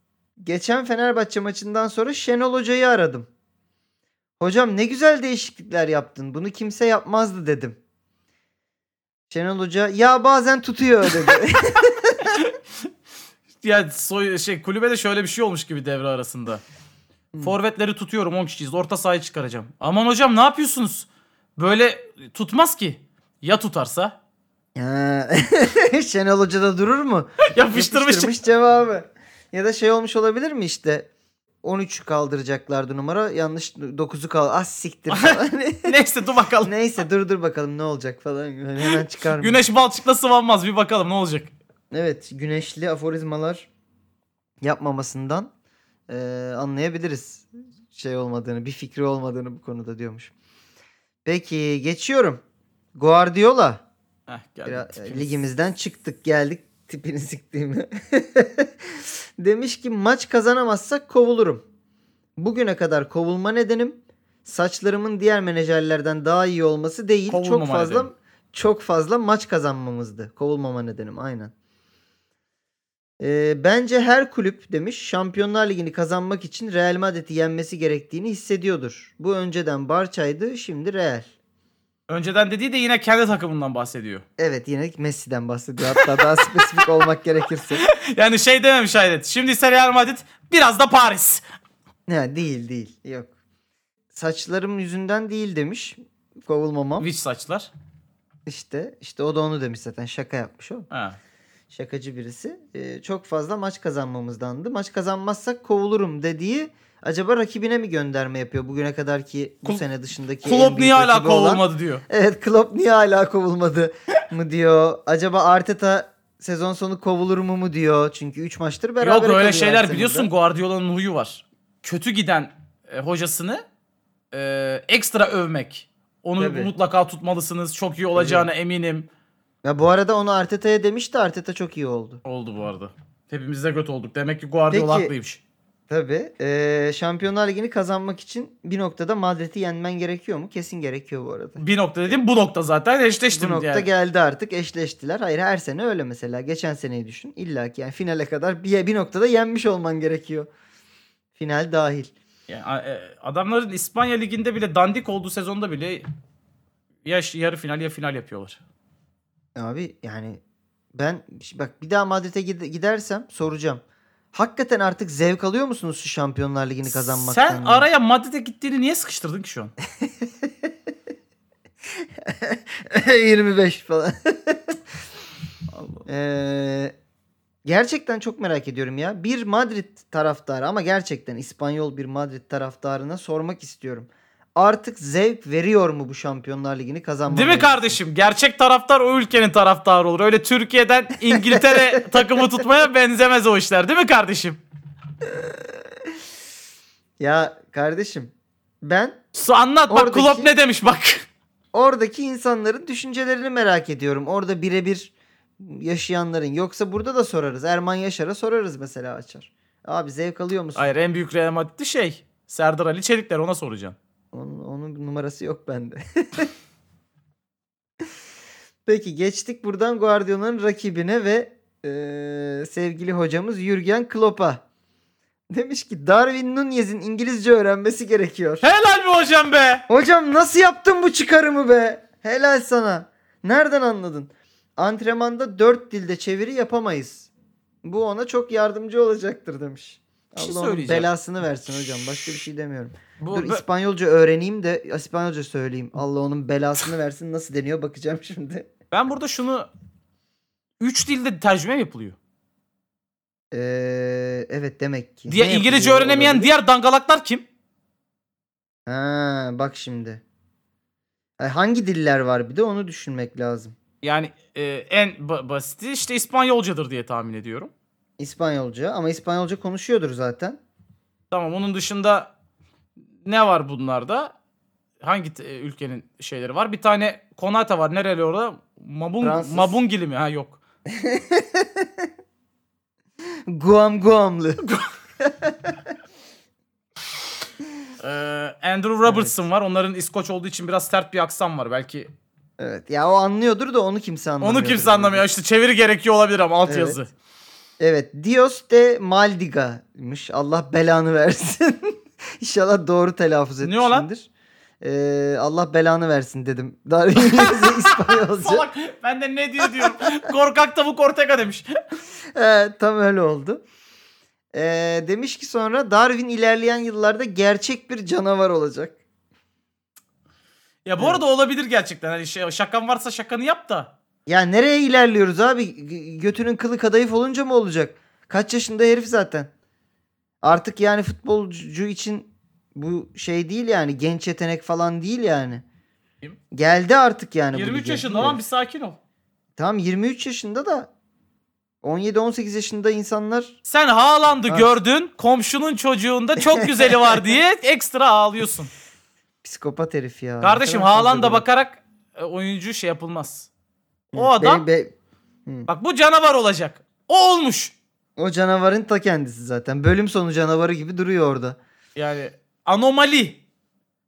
Speaker 3: Geçen Fenerbahçe maçından sonra Şenol Hoca'yı aradım. Hocam ne güzel değişiklikler yaptın. Bunu kimse yapmazdı dedim. Şenol Hoca ya bazen tutuyor dedi.
Speaker 2: Ya soy, şey kulübede şöyle bir şey olmuş gibi devre arasında. Forvetleri tutuyorum 10 kişiyiz. Orta sahayı çıkaracağım. Aman hocam ne yapıyorsunuz? böyle tutmaz ki. Ya tutarsa?
Speaker 3: [LAUGHS] Ha. [LAUGHS] Şenol Hoca da durur mu?
Speaker 2: Yapıştırmış.
Speaker 3: cevabı. Ya da şey olmuş olabilir mi işte 13 kaldıracaklardı numara yanlış 9'u kal. Ah siktir
Speaker 2: [LAUGHS]
Speaker 3: falan.
Speaker 2: [LAUGHS]
Speaker 3: [LAUGHS]
Speaker 2: Neyse dur bakalım.
Speaker 3: Neyse dur dur bakalım ne olacak falan. Yani hemen çıkar mı?
Speaker 2: Güneş balçıkla sıvanmaz bir bakalım ne olacak.
Speaker 3: Evet güneşli aforizmalar yapmamasından eee, anlayabiliriz şey olmadığını bir fikri olmadığını bu konuda diyormuş. Peki geçiyorum. Guardiola.
Speaker 2: Heh, geldi
Speaker 3: Biraz-
Speaker 2: tipimiz.
Speaker 3: e, ligimizden çıktık geldik tipini siktiğimi. [LAUGHS] Demiş ki maç kazanamazsak kovulurum. Bugüne kadar kovulma nedenim saçlarımın diğer menajerlerden daha iyi olması değil.
Speaker 2: Kovulmama
Speaker 3: çok fazla
Speaker 2: nedenim.
Speaker 3: çok fazla maç kazanmamızdı. Kovulmama nedenim aynen. Ee, bence her kulüp demiş Şampiyonlar Ligi'ni kazanmak için Real Madrid'i yenmesi gerektiğini hissediyordur. Bu önceden Barça'ydı şimdi Real.
Speaker 2: Önceden dediği de yine kendi takımından bahsediyor.
Speaker 3: Evet yine Messi'den bahsediyor. Hatta daha spesifik olmak gerekirse.
Speaker 2: Yani şey dememiş hayret. Şimdi ise Real Madrid biraz da Paris.
Speaker 3: Ha, değil değil. Yok. Saçlarım yüzünden değil demiş. Kovulmamam.
Speaker 2: Witch saçlar.
Speaker 3: İşte işte o da onu demiş zaten. Şaka yapmış o.
Speaker 2: Ha.
Speaker 3: Şakacı birisi. Ee, çok fazla maç kazanmamızdandı. Maç kazanmazsak kovulurum dediği acaba rakibine mi gönderme yapıyor? Bugüne kadar ki bu
Speaker 2: Kul-
Speaker 3: sene dışındaki en
Speaker 2: Klopp
Speaker 3: büyük
Speaker 2: niye hala
Speaker 3: rakibi Şey, olan-
Speaker 2: kovulmadı diyor.
Speaker 3: Evet Klopp niye hala kovulmadı mı diyor. Acaba Arteta sezon sonu kovulur mu mu diyor. Çünkü 3 maçtır beraber
Speaker 2: Yok öyle
Speaker 3: kalıyor
Speaker 2: şeyler
Speaker 3: Arsenal'da.
Speaker 2: biliyorsun Guardiola'nın huyu var. Kötü giden e, hocasını e, ekstra övmek. Onu
Speaker 3: Tabii.
Speaker 2: mutlaka tutmalısınız. Çok iyi olacağına eminim.
Speaker 3: Ya bu arada onu Arteta'ya demişti. Arteta çok iyi oldu.
Speaker 2: Oldu bu arada. Hepimiz de göt olduk. Demek ki Guardiola
Speaker 3: Peki.
Speaker 2: haklıymış.
Speaker 3: Tabii. Ee, Şampiyonlar Ligi'ni kazanmak için bir noktada Madrid'i yenmen gerekiyor mu? Kesin gerekiyor bu arada.
Speaker 2: Bir nokta dedim bu nokta zaten eşleştim
Speaker 3: bu nokta
Speaker 2: yani.
Speaker 3: geldi artık eşleştiler. Hayır her sene öyle mesela. Geçen seneyi düşün. İlla ki yani finale kadar bir, bir noktada yenmiş olman gerekiyor. Final dahil.
Speaker 2: Yani, a- e, adamların İspanya liginde bile dandik olduğu sezonda bile ya ş- yarı final ya final yapıyorlar.
Speaker 3: Abi yani ben bak bir daha Madrid'e gide- gidersem soracağım. Hakikaten artık zevk alıyor musunuz şu Şampiyonlar Ligi'ni kazanmaktan?
Speaker 2: Sen
Speaker 3: ya? [LAUGHS]
Speaker 2: araya Madrid'e gittiğini niye sıkıştırdın ki şu an?
Speaker 3: 25 falan.
Speaker 2: [LAUGHS] Allah.
Speaker 3: Ee, gerçekten çok merak ediyorum ya. Bir Madrid taraftarı ama gerçekten İspanyol bir Madrid taraftarına sormak istiyorum. Artık zevk veriyor mu bu Şampiyonlar Ligi'ni kazanmamız?
Speaker 2: Değil mi kardeşim? Gerçek taraftar o ülkenin taraftarı olur. Öyle Türkiye'den İngiltere
Speaker 3: [LAUGHS]
Speaker 2: takımı tutmaya benzemez o işler. Değil mi kardeşim?
Speaker 3: Ya kardeşim ben
Speaker 2: Su anlat bak
Speaker 3: Oradaki-
Speaker 2: Klopp ne demiş bak. [LAUGHS]
Speaker 3: oradaki insanların düşüncelerini merak ediyorum. Orada birebir yaşayanların. Yoksa burada da sorarız. Erman Yaşar'a sorarız mesela açar. Abi zevk alıyor musun?
Speaker 2: Hayır en büyük Real Madrid'i şey. Serdar Ali Çelikler ona soracağım.
Speaker 3: Onun, onun numarası yok bende. [LAUGHS] Peki geçtik buradan Guardiola'nın rakibine ve eee, sevgili hocamız Jürgen Klopp'a. Demiş ki Darwin Nunez'in İngilizce öğrenmesi gerekiyor.
Speaker 2: Helal mi hocam be?
Speaker 3: Hocam nasıl yaptın bu çıkarımı be? Helal sana. Nereden anladın? Antrenmanda dört dilde çeviri yapamayız. Bu ona çok yardımcı olacaktır demiş.
Speaker 2: Bir şey
Speaker 3: Allah onun
Speaker 2: söyleyeceğim.
Speaker 3: belasını versin hocam. Başka bir şey demiyorum.
Speaker 2: Bu,
Speaker 3: Dur
Speaker 2: bu-
Speaker 3: İspanyolca öğreneyim de İspanyolca söyleyeyim. Allah onun belasını versin. Nasıl deniyor bakacağım şimdi.
Speaker 2: ben burada şunu... Üç dilde tercüme mi yapılıyor.
Speaker 3: Ee, evet demek ki.
Speaker 2: Diye
Speaker 3: Ne
Speaker 2: İngilizce
Speaker 3: yapılıyor
Speaker 2: öğrenemeyen
Speaker 3: olabilir?
Speaker 2: diğer dangalaklar kim?
Speaker 3: Ha, bak şimdi. Ay, hangi diller var bir de onu düşünmek lazım.
Speaker 2: Yani e, en ba- basiti işte İspanyolcadır diye tahmin ediyorum.
Speaker 3: İspanyolca ama İspanyolca konuşuyordur zaten.
Speaker 2: Tamam onun dışında ne var bunlarda? Hangi t- e, ülkenin şeyleri var? Bir tane Konata var. Nereli orada? Mabung,
Speaker 3: Fransız.
Speaker 2: Mabungili mi? Ha yok.
Speaker 3: Guam Guamlı.
Speaker 2: Ee, Andrew Robertson var. Onların İskoç olduğu için biraz sert bir aksan var. Belki
Speaker 3: evet ya o anlıyordur da onu kimse anlamıyor.
Speaker 2: onu kimse anlamıyor. İşte çeviri gerekiyor olabilir ama alt
Speaker 3: Evet.
Speaker 2: yazı.
Speaker 3: Evet Dios de Maldiga'ymış. Allah belanı [LAUGHS] versin. İnşallah doğru telaffuz
Speaker 2: Ne o lan?
Speaker 3: etmişimdir. Ee, Allah belanı versin dedim.
Speaker 2: [LAUGHS]
Speaker 3: Darwin'in İspanyolca.
Speaker 2: Salak ben de ne diyor
Speaker 3: [LAUGHS]
Speaker 2: diyorum. Korkak tavuk ortega demiş.
Speaker 3: Ee, tam öyle oldu. Ee, demiş ki sonra Darwin ilerleyen yıllarda gerçek bir canavar olacak.
Speaker 2: Ya bu
Speaker 3: Evet.
Speaker 2: arada olabilir gerçekten. Hani şey, şakan varsa şakanı yap da.
Speaker 3: Ya nereye ilerliyoruz abi? G- Götünün kılı kadayıf olunca mı olacak? Kaç yaşında herif zaten. Artık yani futbolcu için bu şey değil yani genç yetenek falan değil yani.
Speaker 2: Kim?
Speaker 3: Geldi artık yani. bu
Speaker 2: 23
Speaker 3: lige.
Speaker 2: yaşında lan bir sakin ol.
Speaker 3: Tamam 23 yaşında da 17-18 yaşında insanlar
Speaker 2: Sen Haaland'ı
Speaker 3: Ha.
Speaker 2: gördün, komşunun çocuğunda çok güzeli
Speaker 3: [LAUGHS]
Speaker 2: var diye ekstra ağlıyorsun.
Speaker 3: psikopat herif ya. Ne
Speaker 2: Kardeşim
Speaker 3: kadar fazla
Speaker 2: Haaland'a
Speaker 3: böyle.
Speaker 2: bakarak e, oyuncu şey yapılmaz.
Speaker 3: Hı.
Speaker 2: O adam-
Speaker 3: Be- be-
Speaker 2: Bak bu canavar olacak. O olmuş.
Speaker 3: o canavarın ta kendisi zaten. Bölüm sonu canavarı gibi duruyor orada.
Speaker 2: Yani anomali.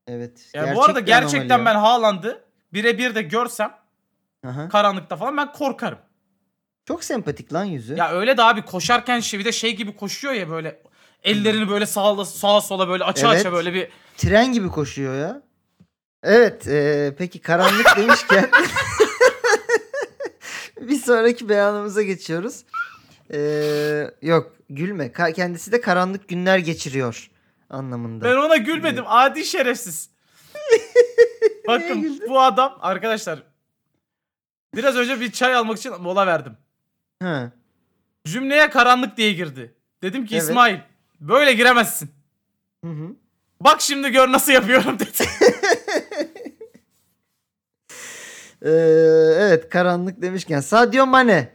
Speaker 3: Evet.
Speaker 2: Yani
Speaker 3: gerçek
Speaker 2: bu arada
Speaker 3: bir anomali
Speaker 2: gerçekten
Speaker 3: ya.
Speaker 2: ben Haaland'ı birebir de görsem
Speaker 3: Aha.
Speaker 2: karanlıkta falan ben korkarım.
Speaker 3: Çok sempatik lan yüzü.
Speaker 2: Ya öyle de abi koşarken şey bir de şey gibi koşuyor ya böyle ellerini böyle sağa, sağa sola böyle açı
Speaker 3: Evet.
Speaker 2: açı böyle bir
Speaker 3: Tren gibi koşuyor ya. Evet. eee, peki karanlık demişken [LAUGHS] bir sonraki beyanımıza geçiyoruz. Eee, yok gülme. Ka- kendisi de karanlık günler geçiriyor anlamında.
Speaker 2: Ben ona gülmedim. Adi
Speaker 3: [LAUGHS]
Speaker 2: şerefsiz.
Speaker 3: Neye
Speaker 2: Bakın
Speaker 3: güldün?
Speaker 2: bu adam arkadaşlar biraz önce bir çay almak için mola verdim.
Speaker 3: Ha.
Speaker 2: Cümleye karanlık diye girdi. Dedim ki
Speaker 3: Evet.
Speaker 2: İsmail böyle giremezsin.
Speaker 3: Hı hı.
Speaker 2: Bak şimdi gör nasıl yapıyorum [LAUGHS] dedi.
Speaker 3: Eee, Ee, evet karanlık demişken Sadio Mane.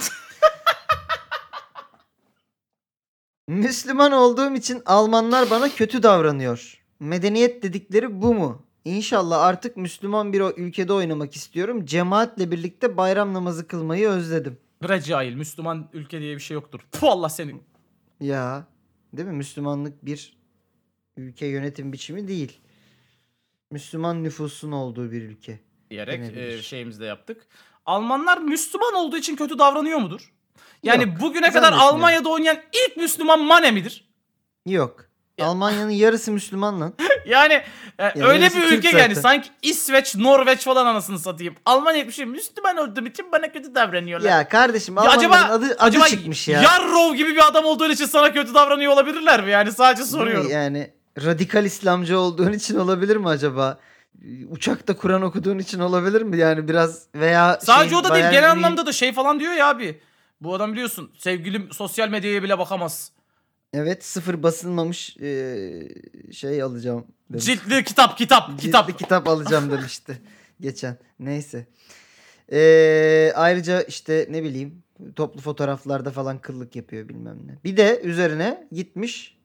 Speaker 3: Müslüman olduğum için Almanlar bana kötü davranıyor. Medeniyet dedikleri bu mu? İnşallah artık Müslüman bir o- ülkede oynamak istiyorum. Cemaatle birlikte bayram namazı kılmayı özledim.
Speaker 2: Bre cahil Müslüman ülke diye bir şey yoktur. Puh Allah seni.
Speaker 3: Ya, değil mi? Müslümanlık bir ülke yönetim biçimi değil. Müslüman nüfusun olduğu bir ülke.
Speaker 2: Diyerek
Speaker 3: Denebilir.
Speaker 2: e, şeyimizde yaptık. Almanlar Müslüman olduğu için kötü davranıyor mudur? Yani bugüne kadar
Speaker 3: zannetmiyorum.
Speaker 2: Almanya'da oynayan ilk Müslüman Mane midir?
Speaker 3: Yok. Almanya'nın yarısı Müslüman lan.
Speaker 2: Yani e, öyle
Speaker 3: yarısı
Speaker 2: bir
Speaker 3: Türk
Speaker 2: ülke
Speaker 3: zaten.
Speaker 2: yani sanki İsveç, Norveç falan anasını satayım. Almanya bir şey Müslüman olduğum için bana kötü davranıyorlar.
Speaker 3: Ya kardeşim
Speaker 2: Ya
Speaker 3: Almanya'nın
Speaker 2: acaba-
Speaker 3: adı, adı
Speaker 2: Acaba
Speaker 3: çıkmış ya.
Speaker 2: Yarrov gibi bir adam olduğun için sana kötü davranıyor olabilirler mi? Yani sadece
Speaker 3: Değil mi?
Speaker 2: soruyorum.
Speaker 3: Yani radikal İslamcı olduğun için olabilir mi acaba? Uçakta Kur'an okuduğun için olabilir mi? Yani biraz veya
Speaker 2: Sadece
Speaker 3: şey,
Speaker 2: o da değil
Speaker 3: Bayern
Speaker 2: genel
Speaker 3: Münih-
Speaker 2: anlamda da şey falan diyor ya abi. Bu adam biliyorsun sevgilim sosyal medyaya bile bakamaz.
Speaker 3: Evet sıfır basılmamış eee, şey alacağım. demiş.
Speaker 2: Ciltli kitap kitap
Speaker 3: Ciltli
Speaker 2: kitap.
Speaker 3: kitap
Speaker 2: [LAUGHS]
Speaker 3: alacağım demişti geçen. Neyse. Eee, ayrıca işte ne bileyim toplu fotoğraflarda falan kıllık yapıyor bilmem ne. Bir de üzerine gitmiş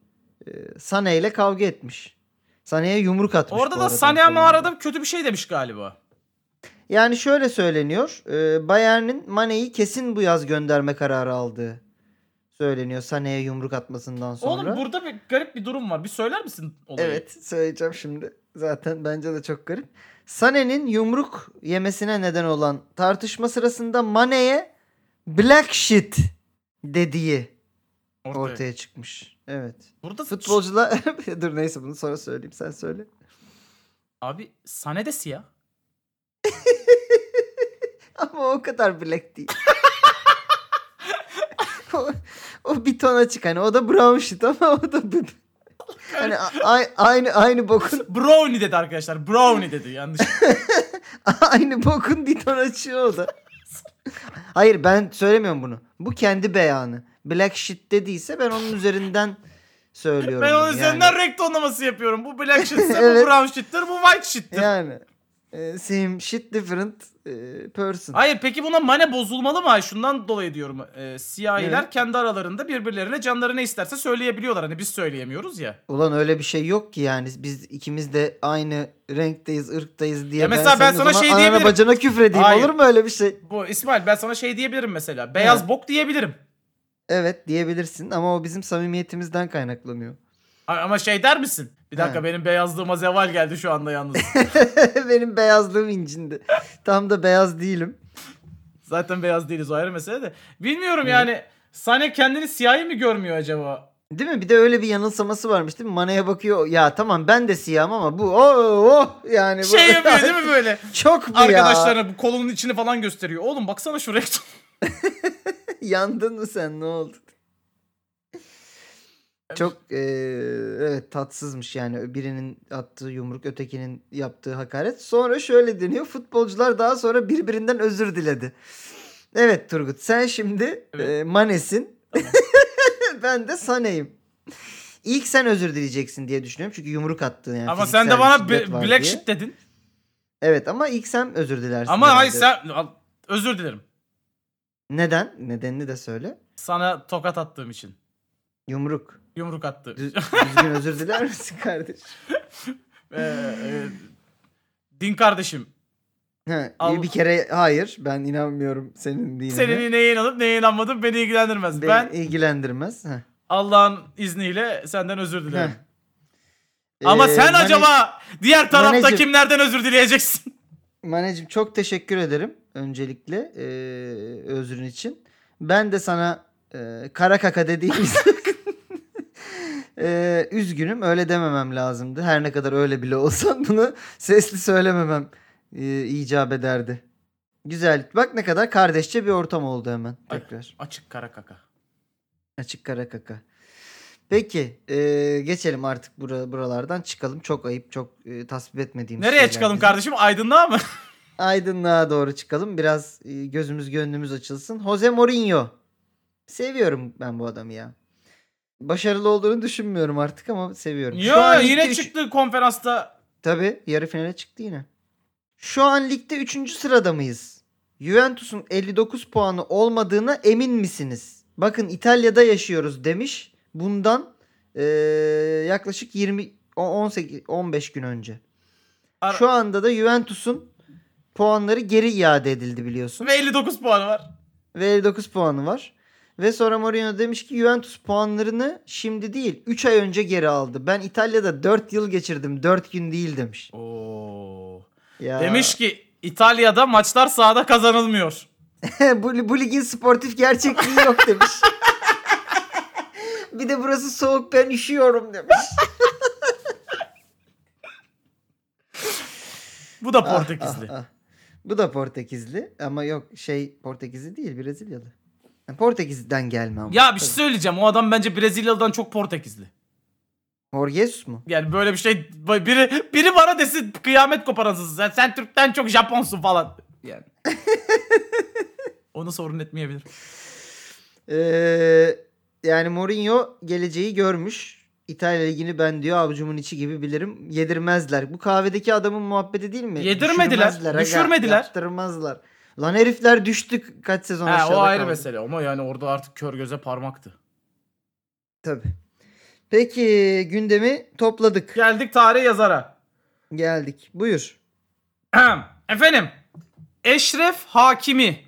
Speaker 3: eee Sane ile kavga etmiş. Sane'ye yumruk atmış. bu
Speaker 2: Orada da
Speaker 3: arada
Speaker 2: Sané ama
Speaker 3: falan.
Speaker 2: arada kötü bir şey demiş galiba.
Speaker 3: Yani şöyle söyleniyor. E, Bayern'in Mane'yi kesin bu yaz gönderme kararı aldığı söyleniyor Sané'ye yumruk atmasından sonra.
Speaker 2: Oğlum burada bir garip bir durum var. Bir söyler misin olayı?
Speaker 3: Evet söyleyeceğim şimdi. Zaten bence de çok garip. Sané'nin yumruk yemesine neden olan tartışma sırasında Mane'ye black shit dediği
Speaker 2: Ortaya.
Speaker 3: ortaya çıkmış. Evet.
Speaker 2: Burada futbol
Speaker 3: Futbolcular [LAUGHS] dur neyse bunu sonra söyleyeyim sen söyle.
Speaker 2: abi Sané de siyah.
Speaker 3: Ama o kadar
Speaker 2: [LAUGHS]
Speaker 3: black değil. o, o bir tona çık hani o da brown shit ama o da bu. Hani a- ay- aynı aynı bokun
Speaker 2: [LAUGHS] Brownie dedi arkadaşlar. Brownie dedi yanlış.
Speaker 3: [LAUGHS] aynı bokun bir ton açıyor o da. Hayır ben söylemiyorum bunu. Bu kendi beyanı. Black shit dediyse ben onun üzerinden söylüyorum.
Speaker 2: ben
Speaker 3: bunu
Speaker 2: onun
Speaker 3: yani.
Speaker 2: üzerinden renk tonlaması yapıyorum. Bu black
Speaker 3: [LAUGHS]
Speaker 2: shit'tir,
Speaker 3: Evet.
Speaker 2: bu brown shit'tir, bu white shit'tir.
Speaker 3: yani e, same shit different e, person.
Speaker 2: Hayır peki buna mane bozulmalı mı? Şundan dolayı diyorum. E, siyahiler
Speaker 3: Evet.
Speaker 2: kendi aralarında birbirlerine canları ne isterse söyleyebiliyorlar. Hani biz söyleyemiyoruz ya.
Speaker 3: Ulan öyle bir şey yok ki yani. Biz ikimiz de aynı renkteyiz, ırktayız diye.
Speaker 2: Ya mesela ben
Speaker 3: senin o
Speaker 2: sana
Speaker 3: zaman
Speaker 2: şey
Speaker 3: anana
Speaker 2: diyebilirim.
Speaker 3: bacana küfredeyim.
Speaker 2: Hayır.
Speaker 3: Olur mu öyle bir şey?
Speaker 2: Bu İsmail ben sana şey diyebilirim mesela. Beyaz
Speaker 3: Evet.
Speaker 2: bok diyebilirim.
Speaker 3: Evet diyebilirsin ama o bizim samimiyetimizden kaynaklanıyor. [LAUGHS]
Speaker 2: A- Ama şey der misin? Bir dakika
Speaker 3: He.
Speaker 2: benim beyazlığıma zeval geldi şu anda
Speaker 3: [LAUGHS]
Speaker 2: yalnız.
Speaker 3: Benim beyazlığım incindi. Tam da beyaz değilim.
Speaker 2: Zaten beyaz değiliz o ayrı mesele de. Bilmiyorum yani. Sane kendini siyahi mi görmüyor acaba?
Speaker 3: Değil mi? Bir de öyle bir yanılsaması varmış değil mi? Manaya bakıyor. Ya tamam ben de siyahım ama bu oh, oh. yani bu
Speaker 2: Şey yapıyor değil
Speaker 3: [LAUGHS]
Speaker 2: mi böyle?
Speaker 3: Çok bu ya.
Speaker 2: Arkadaşlarına bu kolunun içini falan gösteriyor. Oğlum baksana şu renk
Speaker 3: Yandın mı sen? Ne oldu? Çok e, evet tatsızmış yani birinin attığı yumruk ötekinin yaptığı hakaret. Sonra şöyle deniyor futbolcular daha sonra birbirinden özür diledi. Evet Turgut sen şimdi
Speaker 2: Evet.
Speaker 3: e, Manes'in [LAUGHS] ben de Sane'yim. İlk sen özür dileyeceksin diye düşünüyorum çünkü yumruk attın yani.
Speaker 2: Ama sen de
Speaker 3: fiziksel
Speaker 2: bana
Speaker 3: şiddet
Speaker 2: bi-
Speaker 3: var
Speaker 2: black
Speaker 3: diye.
Speaker 2: shit dedin.
Speaker 3: Evet ama ilk sen özür dilersin.
Speaker 2: Ama hayır
Speaker 3: herhalde.
Speaker 2: sen Al, özür dilerim.
Speaker 3: Neden? Nedenini de söyle.
Speaker 2: Sana tokat attığım için.
Speaker 3: Yumruk.
Speaker 2: Yumruk attı.
Speaker 3: Düz- düzgün özür diler misin kardeş?
Speaker 2: Ee, e, din kardeşim.
Speaker 3: Ha,
Speaker 2: Al-
Speaker 3: bir kere hayır ben inanmıyorum senin dinine.
Speaker 2: Senin neye inanıp neye inanmadın beni ilgilendirmez.
Speaker 3: Beni
Speaker 2: Ben
Speaker 3: ilgilendirmez. Ha.
Speaker 2: Allah'ın izniyle senden özür dilerim. [LAUGHS]
Speaker 3: Heh.
Speaker 2: Ama
Speaker 3: Ee,
Speaker 2: sen
Speaker 3: Mane-
Speaker 2: acaba diğer tarafta
Speaker 3: Maneciğim-
Speaker 2: kimlerden özür dileyeceksin? [LAUGHS]
Speaker 3: Maneciğim çok teşekkür ederim öncelikle e, özrün için. Ben de sana e, kara kaka dediğim için [LAUGHS] e, üzgünüm öyle dememem lazımdı. Her ne kadar öyle bile olsan bunu sesli söylememem e, icap ederdi. Güzel. Bak ne kadar kardeşçe bir ortam oldu hemen
Speaker 2: Ay.
Speaker 3: tekrar.
Speaker 2: Açık kara kaka.
Speaker 3: Açık kara kaka. Peki e, geçelim artık bura, buralardan çıkalım. Çok ayıp çok e, tasvip etmediğimiz
Speaker 2: Nereye
Speaker 3: şeyler
Speaker 2: çıkalım
Speaker 3: bizim.
Speaker 2: kardeşim? Aydınlığa mı?
Speaker 3: aydınlığa doğru çıkalım. Biraz e, gözümüz gönlümüz açılsın. Jose Mourinho. Seviyorum ben bu adamı ya. Başarılı olduğunu düşünmüyorum artık ama seviyorum. Şu
Speaker 2: Yo
Speaker 3: an ligde
Speaker 2: yine
Speaker 3: üç-
Speaker 2: çıktı konferansta.
Speaker 3: Tabii yarı finale çıktı yine. Şu an ligde 3. sırada mıyız? Juventus'un 59 puanı olmadığına emin misiniz? Bakın İtalya'da yaşıyoruz demiş. Bundan e, yaklaşık 20 o- 18 15 gün önce.
Speaker 2: Ar-
Speaker 3: Şu anda da Juventus'un puanları geri iade edildi biliyorsun.
Speaker 2: Ve 59 puanı var.
Speaker 3: Ve 59 puanı var. Ve sonra Mourinho demiş ki Juventus puanlarını şimdi değil 3 ay önce geri aldı. Ben İtalya'da 4 yıl geçirdim 4 gün değil demiş.
Speaker 2: Oo.
Speaker 3: Ya.
Speaker 2: Demiş ki İtalya'da maçlar sahada kazanılmıyor.
Speaker 3: [LAUGHS] bu, bu ligin sportif gerçekliği yok demiş. bir de burası soğuk ben üşüyorum demiş.
Speaker 2: Bu da
Speaker 3: Ah, [LAUGHS]
Speaker 2: Portekizli.
Speaker 3: ah, ah. Bu da Portekizli ama yok şey Portekizli değil Brezilyalı. Yani Portekiz'den gelme ama.
Speaker 2: Ya bir şey
Speaker 3: Tabii.
Speaker 2: söyleyeceğim. O adam bence Brezilyalı'dan çok Portekizli.
Speaker 3: Jorge Jesus mu?
Speaker 2: Yani böyle bir şey biri biri bana desin kıyamet koparasın. Sen, sen Türk'ten çok Japonsun falan.
Speaker 3: [LAUGHS]
Speaker 2: Yani. Onu sorun etmeyebilir.
Speaker 3: Ee, yani Mourinho geleceği görmüş. İtalya ligini ben diyor avucumun içi gibi bilirim. Yedirmezler. Bu kahvedeki adamın muhabbeti değil mi?
Speaker 2: Yedirmediler,
Speaker 3: Düşürmezler aga,
Speaker 2: düşürmediler.
Speaker 3: Yaptırmazlar. Lan herifler düştük kaç sezon
Speaker 2: Ha,
Speaker 3: aşağıda
Speaker 2: o ayrı
Speaker 3: kaldı.
Speaker 2: mesele ama yani orada artık kör göze parmaktı.
Speaker 3: Tabii. Peki gündemi topladık.
Speaker 2: Geldik tarih yazara. [CLEARS THROAT]
Speaker 3: Geldik. Buyur.
Speaker 2: Ahem. Efendim. Eşref Hakimi.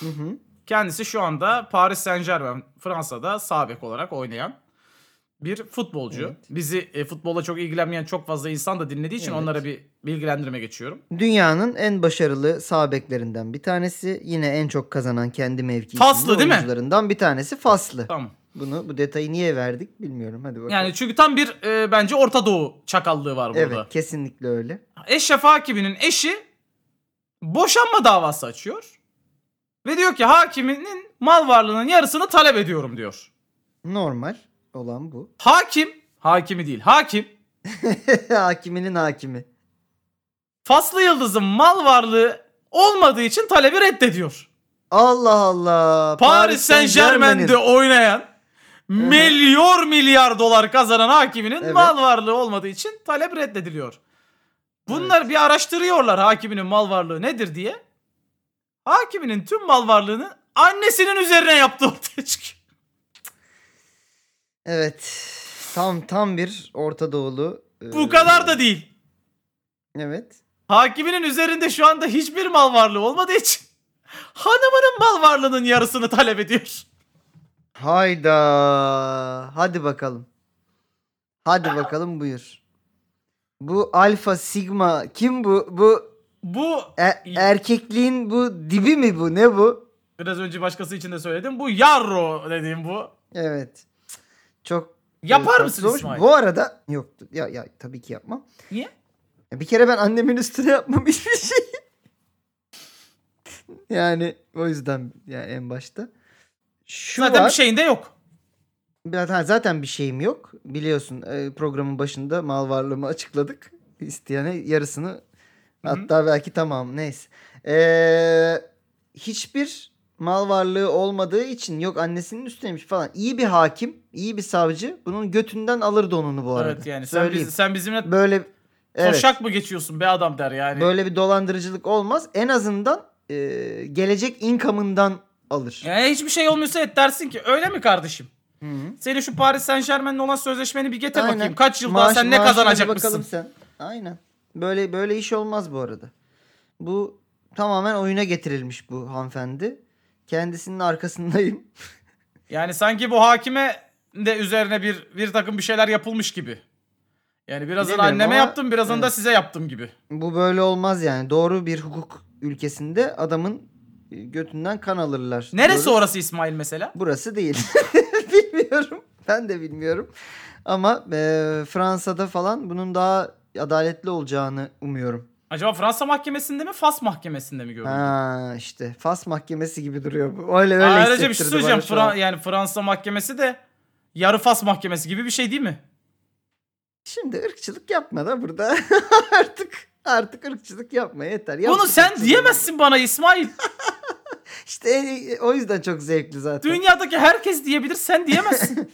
Speaker 3: Hı hı.
Speaker 2: Kendisi şu anda Paris Saint Germain Fransa'da sağ bek olarak oynayan bir futbolcu.
Speaker 3: Evet.
Speaker 2: Bizi e, futbolla çok ilgilenmeyen çok fazla insan da dinlediği için
Speaker 3: Evet.
Speaker 2: onlara bir bilgilendirme geçiyorum.
Speaker 3: Dünyanın en başarılı sağ beklerinden bir tanesi. Yine en çok kazanan kendi mevkii
Speaker 2: Faslı
Speaker 3: içinde
Speaker 2: değil mi?
Speaker 3: oyuncularından bir tanesi Faslı.
Speaker 2: Tamam.
Speaker 3: Bunu bu detayı niye verdik bilmiyorum. Hadi bakalım.
Speaker 2: Yani çünkü tam bir e, bence Orta Doğu çakallığı var
Speaker 3: evet
Speaker 2: burada.
Speaker 3: kesinlikle öyle.
Speaker 2: Eşref Hakimi'nin eşi boşanma davası açıyor. Ve diyor ki hakiminin mal varlığının yarısını talep ediyorum diyor.
Speaker 3: Normal olan bu. [LAUGHS]
Speaker 2: Hakim, hakimi değil hakim
Speaker 3: Hakiminin hakimi.
Speaker 2: Faslı Yıldız'ın mal varlığı olmadığı için talebi reddediyor.
Speaker 3: Allah Allah.
Speaker 2: Paris Saint
Speaker 3: Saint-Germain'in-
Speaker 2: Germain'de oynayan milyar milyar dolar kazanan hakiminin
Speaker 3: Evet.
Speaker 2: mal varlığı olmadığı için talep reddediliyor. Bunlar bir araştırıyorlar hakiminin mal varlığı nedir diye. Hakiminin tüm mal varlığını annesinin üzerine yaptığı ortaya çıkıyor.
Speaker 3: Evet. Tam tam bir Orta Doğulu. e,
Speaker 2: Bu kadar da değil.
Speaker 3: Evet.
Speaker 2: Hakiminin üzerinde şu anda hiçbir mal varlığı olmadığı için [LAUGHS] hanımının mal varlığının yarısını talep ediyor.
Speaker 3: Hayda. Hadi bakalım. Hadi bakalım buyur. Bu alfa sigma kim bu? Bu
Speaker 2: Bu
Speaker 3: e- erkekliğin bu dibi mi bu? Ne bu?
Speaker 2: biraz önce başkası için de söyledim. Bu yarro dediğim bu.
Speaker 3: Evet. Çok
Speaker 2: Yapar
Speaker 3: Evet,
Speaker 2: mısın
Speaker 3: zormuş.
Speaker 2: İsmail?
Speaker 3: Bu arada yoktu. Ya ya tabii ki yapmam.
Speaker 2: Niye?
Speaker 3: Ya bir kere ben annemin üstüne yapmam [LAUGHS] hiçbir şey. yani o yüzden yani en başta. Şu
Speaker 2: Zaten
Speaker 3: var.
Speaker 2: şey bir şeyin de yok.
Speaker 3: biraz ha, zaten bir şeyim yok. Biliyorsun e, programın başında mal varlığımı açıkladık. İsteyene yarısını hatta belki tamam neyse. Ee, hiçbir mal varlığı olmadığı için yok annesinin üstlenmiş falan. İyi bir hakim, iyi bir savcı bunun götünden alır donunu bu arada.
Speaker 2: Evet yani sen,
Speaker 3: Söyleyeyim.
Speaker 2: biz, sen bizimle
Speaker 3: Böyle evet.
Speaker 2: toşak mı geçiyorsun be adam der yani.
Speaker 3: Böyle bir dolandırıcılık olmaz. En azından e, gelecek income'ından alır.
Speaker 2: Yani hiçbir şey olmuyorsa et dersin ki öyle mi kardeşim?
Speaker 3: Hı hı.
Speaker 2: Senin şu Paris Saint Germain'le olan sözleşmeni bir getir
Speaker 3: Aynen.
Speaker 2: bakayım. Kaç yıl daha
Speaker 3: Maaş-
Speaker 2: sen ne
Speaker 3: maaşına bir
Speaker 2: kazanacak
Speaker 3: bakalım
Speaker 2: mısın?
Speaker 3: sen. Aynen. Böyle böyle iş olmaz bu arada. Bu tamamen oyuna getirilmiş bu hanımefendi. Kendisinin arkasındayım. [LAUGHS]
Speaker 2: Yani sanki bu hakime de üzerine bir bir takım bir şeyler yapılmış gibi. Yani birazını
Speaker 3: Bilemiyorum
Speaker 2: anneme
Speaker 3: ama-
Speaker 2: yaptım birazını da
Speaker 3: Evet.
Speaker 2: size yaptım gibi.
Speaker 3: Bu böyle olmaz yani. Doğru bir hukuk ülkesinde adamın e, götünden kan alırlar.
Speaker 2: Neresi
Speaker 3: Doğru-
Speaker 2: orası İsmail mesela?
Speaker 3: Burası değil. [LAUGHS] bilmiyorum. Ben de bilmiyorum. Ama e, Fransa'da falan bunun daha adaletli olacağını umuyorum.
Speaker 2: Acaba Fransa mahkemesinde mi Fas mahkemesinde mi görüldü?
Speaker 3: Ha işte Fas mahkemesi gibi duruyor bu. Öyle öyle
Speaker 2: Ayrıca bir şey
Speaker 3: hissettirdi
Speaker 2: söyleyeceğim.
Speaker 3: bana şu an.
Speaker 2: Fra- yani Fransa mahkemesi de yarı Fas mahkemesi gibi bir şey değil mi?
Speaker 3: Şimdi ırkçılık yapma da burada. [LAUGHS] artık artık ırkçılık yapma yeter. Yap
Speaker 2: Bunu sen
Speaker 3: ırkçılığı.
Speaker 2: diyemezsin bana İsmail.
Speaker 3: İşte en- o yüzden çok zevkli zaten.
Speaker 2: Dünyadaki herkes diyebilir sen diyemezsin.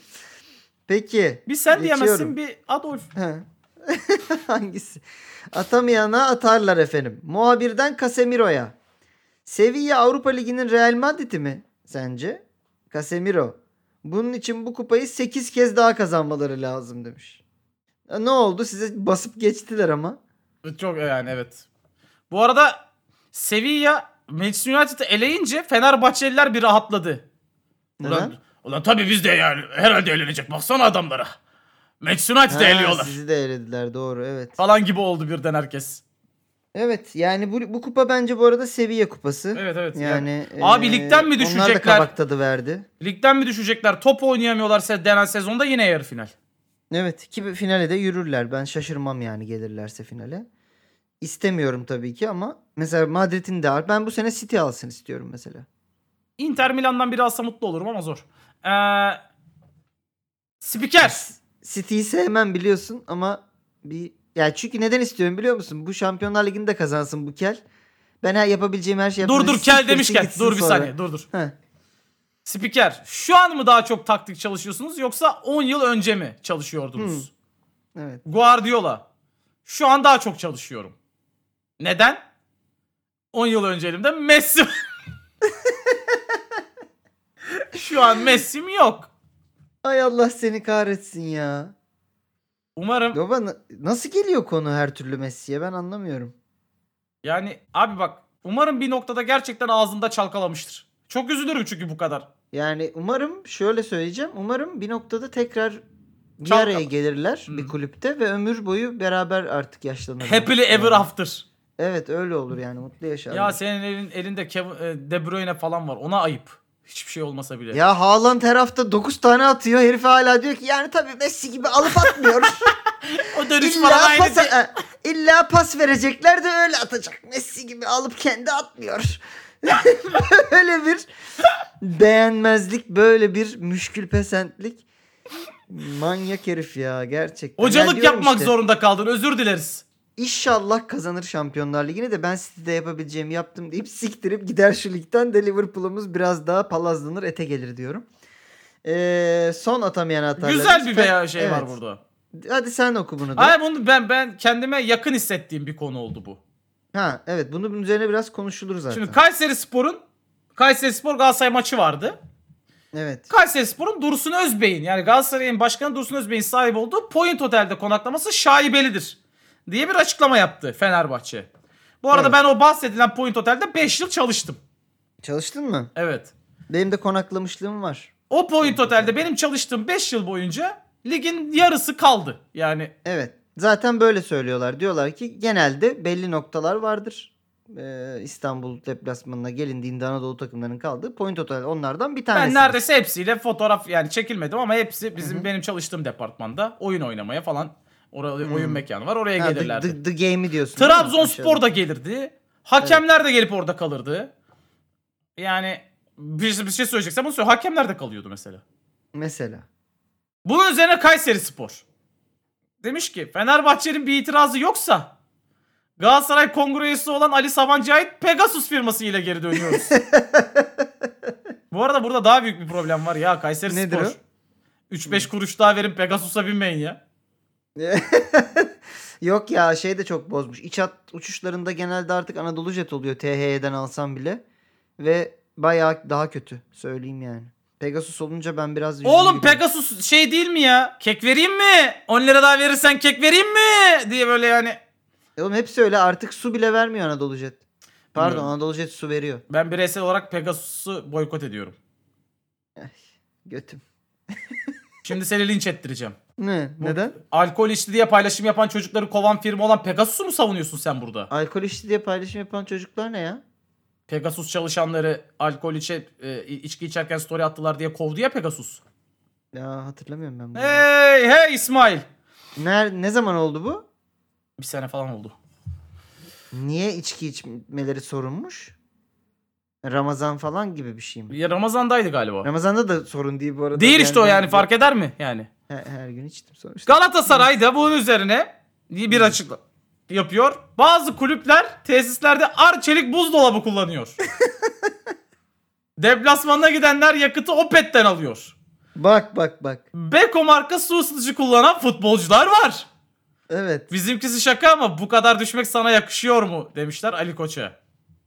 Speaker 3: Peki.
Speaker 2: Bir sen diyemezsin
Speaker 3: Geçiyorum.
Speaker 2: bir Adolf.
Speaker 3: Ha. [LAUGHS] Hangisi? Atamayana atarlar efendim. Muhabirden Casemiro'ya. Sevilla Avrupa Ligi'nin Real Madrid'i mi sence? Casemiro. Bunun için bu kupayı 8 kez daha kazanmaları lazım demiş. E, Ne oldu? Size basıp geçtiler ama.
Speaker 2: Çok e, yani evet. Bu arada Sevilla Manchester United'ı eleyince Fenerbahçeliler bir rahatladı.
Speaker 3: Neden?
Speaker 2: Ulan, ulan tabii biz de yani herhalde elenecek baksana adamlara. Manchester United'ı
Speaker 3: Ha,
Speaker 2: eliyorlar
Speaker 3: Sizi de elediler doğru evet.
Speaker 2: falan gibi oldu birden herkes.
Speaker 3: Evet yani bu, bu kupa bence bu arada seviye kupası.
Speaker 2: Evet evet. yani.
Speaker 3: Yani
Speaker 2: Abi,
Speaker 3: eee,
Speaker 2: ligden mi
Speaker 3: Onlar da
Speaker 2: düşecekler?
Speaker 3: kabak tadı verdi.
Speaker 2: Ligden mi düşecekler? Top oynayamıyorlarsa denen sezonda yine yarı final.
Speaker 3: Evet ki finale de yürürler. Ben şaşırmam yani gelirlerse finale. İstemiyorum tabii ki ama mesela Madrid'in de var. Ben bu sene City alsın istiyorum mesela.
Speaker 2: Inter Milan'dan biri alsa mutlu olurum ama zor. Ee, spiker.
Speaker 3: City'yi sevmem biliyorsun ama bir ya çünkü neden istiyorum biliyor musun? Bu Şampiyonlar Ligi'ni de kazansın bu kel. Ben her yapabileceğim her şeyi
Speaker 2: Dur
Speaker 3: yapmaya-
Speaker 2: dur kel
Speaker 3: Siktirsin
Speaker 2: demişken.
Speaker 3: gitsin
Speaker 2: Dur bir
Speaker 3: sonra.
Speaker 2: saniye dur dur.
Speaker 3: Heh.
Speaker 2: Spiker şu an mı daha çok taktik çalışıyorsunuz yoksa 10 yıl önce mi çalışıyordunuz?
Speaker 3: Evet.
Speaker 2: Guardiola şu an daha çok çalışıyorum. Neden? 10 yıl önce elimde Messi [LAUGHS] Şu an Messi'm yok.
Speaker 3: Ay Allah seni kahretsin ya.
Speaker 2: Umarım
Speaker 3: Baba na- nasıl geliyor konu her türlü Messi'ye ben anlamıyorum.
Speaker 2: yani abi bak umarım bir noktada gerçekten ağzında çalkalamıştır. Çok üzülürüm çünkü bu kadar.
Speaker 3: Yani umarım şöyle söyleyeceğim. Umarım bir noktada tekrar bir
Speaker 2: Çalkala.
Speaker 3: araya gelirler
Speaker 2: Hmm.
Speaker 3: bir kulüpte ve ömür boyu beraber artık yaşlanırlar.
Speaker 2: Happily ever
Speaker 3: Yani.
Speaker 2: after.
Speaker 3: Evet öyle olur yani mutlu yaşarlar.
Speaker 2: Ya
Speaker 3: Ya,
Speaker 2: senin elin, elinde Kev- e, De Bruyne falan var. Ona ayıp. Hiçbir şey olmasa bile.
Speaker 3: Haaland her hafta 9 tane atıyor. Herif hala diyor ki yani tabii Messi gibi alıp
Speaker 2: [LAUGHS]
Speaker 3: atmıyor.
Speaker 2: o dönüş
Speaker 3: illa,
Speaker 2: falan aynı
Speaker 3: pas,
Speaker 2: değil.
Speaker 3: e, illa pas verecekler de öyle atacak. Messi gibi alıp kendi atmıyor. [LAUGHS] böyle bir beğenmezlik, böyle bir müşkül pesentlik. Manyak herif ya gerçekten. Ben
Speaker 2: Hocalık
Speaker 3: diyorum
Speaker 2: yapmak
Speaker 3: işte,
Speaker 2: zorunda kaldın. Özür dileriz.
Speaker 3: İnşallah kazanır Şampiyonlar Ligi'ni de ben City'de yapabileceğimi yaptım deyip siktirip gider şu ligden de Liverpool'umuz biraz daha palazlanır ete gelir diyorum. Ee, son atamayan atarlar.
Speaker 2: Güzel bir veya şey var
Speaker 3: Evet.
Speaker 2: burada.
Speaker 3: Hadi sen oku bunu da.
Speaker 2: Hayır bunu ben ben kendime yakın hissettiğim bir konu oldu bu.
Speaker 3: Ha evet bunu bunun üzerine biraz konuşulur zaten.
Speaker 2: Şimdi Kayseri Spor'un Kayseri Spor Galatasaray maçı vardı.
Speaker 3: evet.
Speaker 2: Kayseri Spor'un Dursun Özbey'in yani Galatasaray'ın başkanı Dursun Özbey'in sahip olduğu Point Otel'de konaklaması şaibelidir diye bir açıklama yaptı Fenerbahçe. Bu arada
Speaker 3: Evet.
Speaker 2: ben o bahsedilen Point Otel'de 5 yıl çalıştım.
Speaker 3: Çalıştın mı?
Speaker 2: Evet.
Speaker 3: Benim de konaklamışlığım var.
Speaker 2: O Point Otel'de benim çalıştığım 5 yıl boyunca ligin yarısı kaldı. Yani
Speaker 3: Evet. Zaten böyle söylüyorlar. Diyorlar ki genelde belli noktalar vardır. Ee, İstanbul deplasmanına gelindiğinde Anadolu takımlarının kaldığı Point Otel onlardan bir tanesi.
Speaker 2: ben neredeyse hepsiyle fotoğraf yani çekilmedim ama hepsi bizim
Speaker 3: Hı hı.
Speaker 2: benim çalıştığım departmanda oyun oynamaya falan orada
Speaker 3: Hmm.
Speaker 2: oyun mekanı var oraya
Speaker 3: Ha, the,
Speaker 2: gelirlerdi.
Speaker 3: the, the Game'i diyorsun. değil mi?
Speaker 2: Trabzonspor da gelirdi. Hakemler de gelip orada kalırdı. Yani bir, bir şey söyleyeceksem bunu söyle. Hakemler de kalıyordu mesela.
Speaker 3: Mesela.
Speaker 2: Bunun üzerine Kayseri Spor. Demiş ki Fenerbahçe'nin bir itirazı yoksa Galatasaray kongre üyesi olan Ali Sabancı'ya ait Pegasus firması ile geri
Speaker 3: [LAUGHS]
Speaker 2: dönüyoruz. Bu arada burada daha büyük bir problem var ya Kayseri
Speaker 3: Nedir
Speaker 2: Spor.
Speaker 3: o?
Speaker 2: 3-5 kuruş daha verin Pegasus'a binmeyin ya.
Speaker 3: Yok ya şey de çok bozmuş. İç hat uçuşlarında genelde artık Anadolu Jet oluyor THY'den alsam bile. Ve bayağı daha kötü söyleyeyim yani. Pegasus olunca ben biraz... yüzüne
Speaker 2: Oğlum
Speaker 3: gidiyorum.
Speaker 2: Pegasus şey değil mi ya? Kek vereyim mi? 10 lira daha verirsen kek vereyim mi? Diye böyle yani.
Speaker 3: E Oğlum hepsi öyle artık su bile vermiyor Anadolu Jet. Pardon
Speaker 2: Bilmiyorum.
Speaker 3: Anadolu Jet su veriyor.
Speaker 2: Ben bireysel olarak Pegasus'u boykot ediyorum.
Speaker 3: Götüm.
Speaker 2: Şimdi seni linç ettireceğim.
Speaker 3: Ne?
Speaker 2: Bu-
Speaker 3: Neden?
Speaker 2: Alkol içti diye paylaşım yapan çocukları kovan firma olan Pegasus'u mu savunuyorsun sen burada?
Speaker 3: Alkol içti diye paylaşım yapan çocuklar ne ya?
Speaker 2: Pegasus çalışanları alkol içe e, içki içerken story attılar diye kovdu ya Pegasus.
Speaker 3: Ya hatırlamıyorum ben bunu.
Speaker 2: Hey hey İsmail.
Speaker 3: Ner, ne zaman oldu bu?
Speaker 2: Bir sene falan oldu.
Speaker 3: Niye içki içmeleri sorunmuş? Ramazan falan gibi bir şey mi?
Speaker 2: Ya Ramazan'daydı galiba.
Speaker 3: Ramazan'da da sorun değil bu arada.
Speaker 2: Değil işte o yani
Speaker 3: ben-
Speaker 2: fark eder mi yani?
Speaker 3: Her, her gün içtim sonuçta.
Speaker 2: Galatasaray da bunun üzerine bir açıkla yapıyor. Bazı kulüpler tesislerde arçelik buzdolabı [LAUGHS] kullanıyor. Deplasmana gidenler yakıtı Opet'ten alıyor.
Speaker 3: Bak bak bak.
Speaker 2: Beko marka su ısıtıcı kullanan futbolcular var.
Speaker 3: Evet.
Speaker 2: Bizimkisi şaka ama bu kadar düşmek sana yakışıyor mu demişler Ali Koç'a.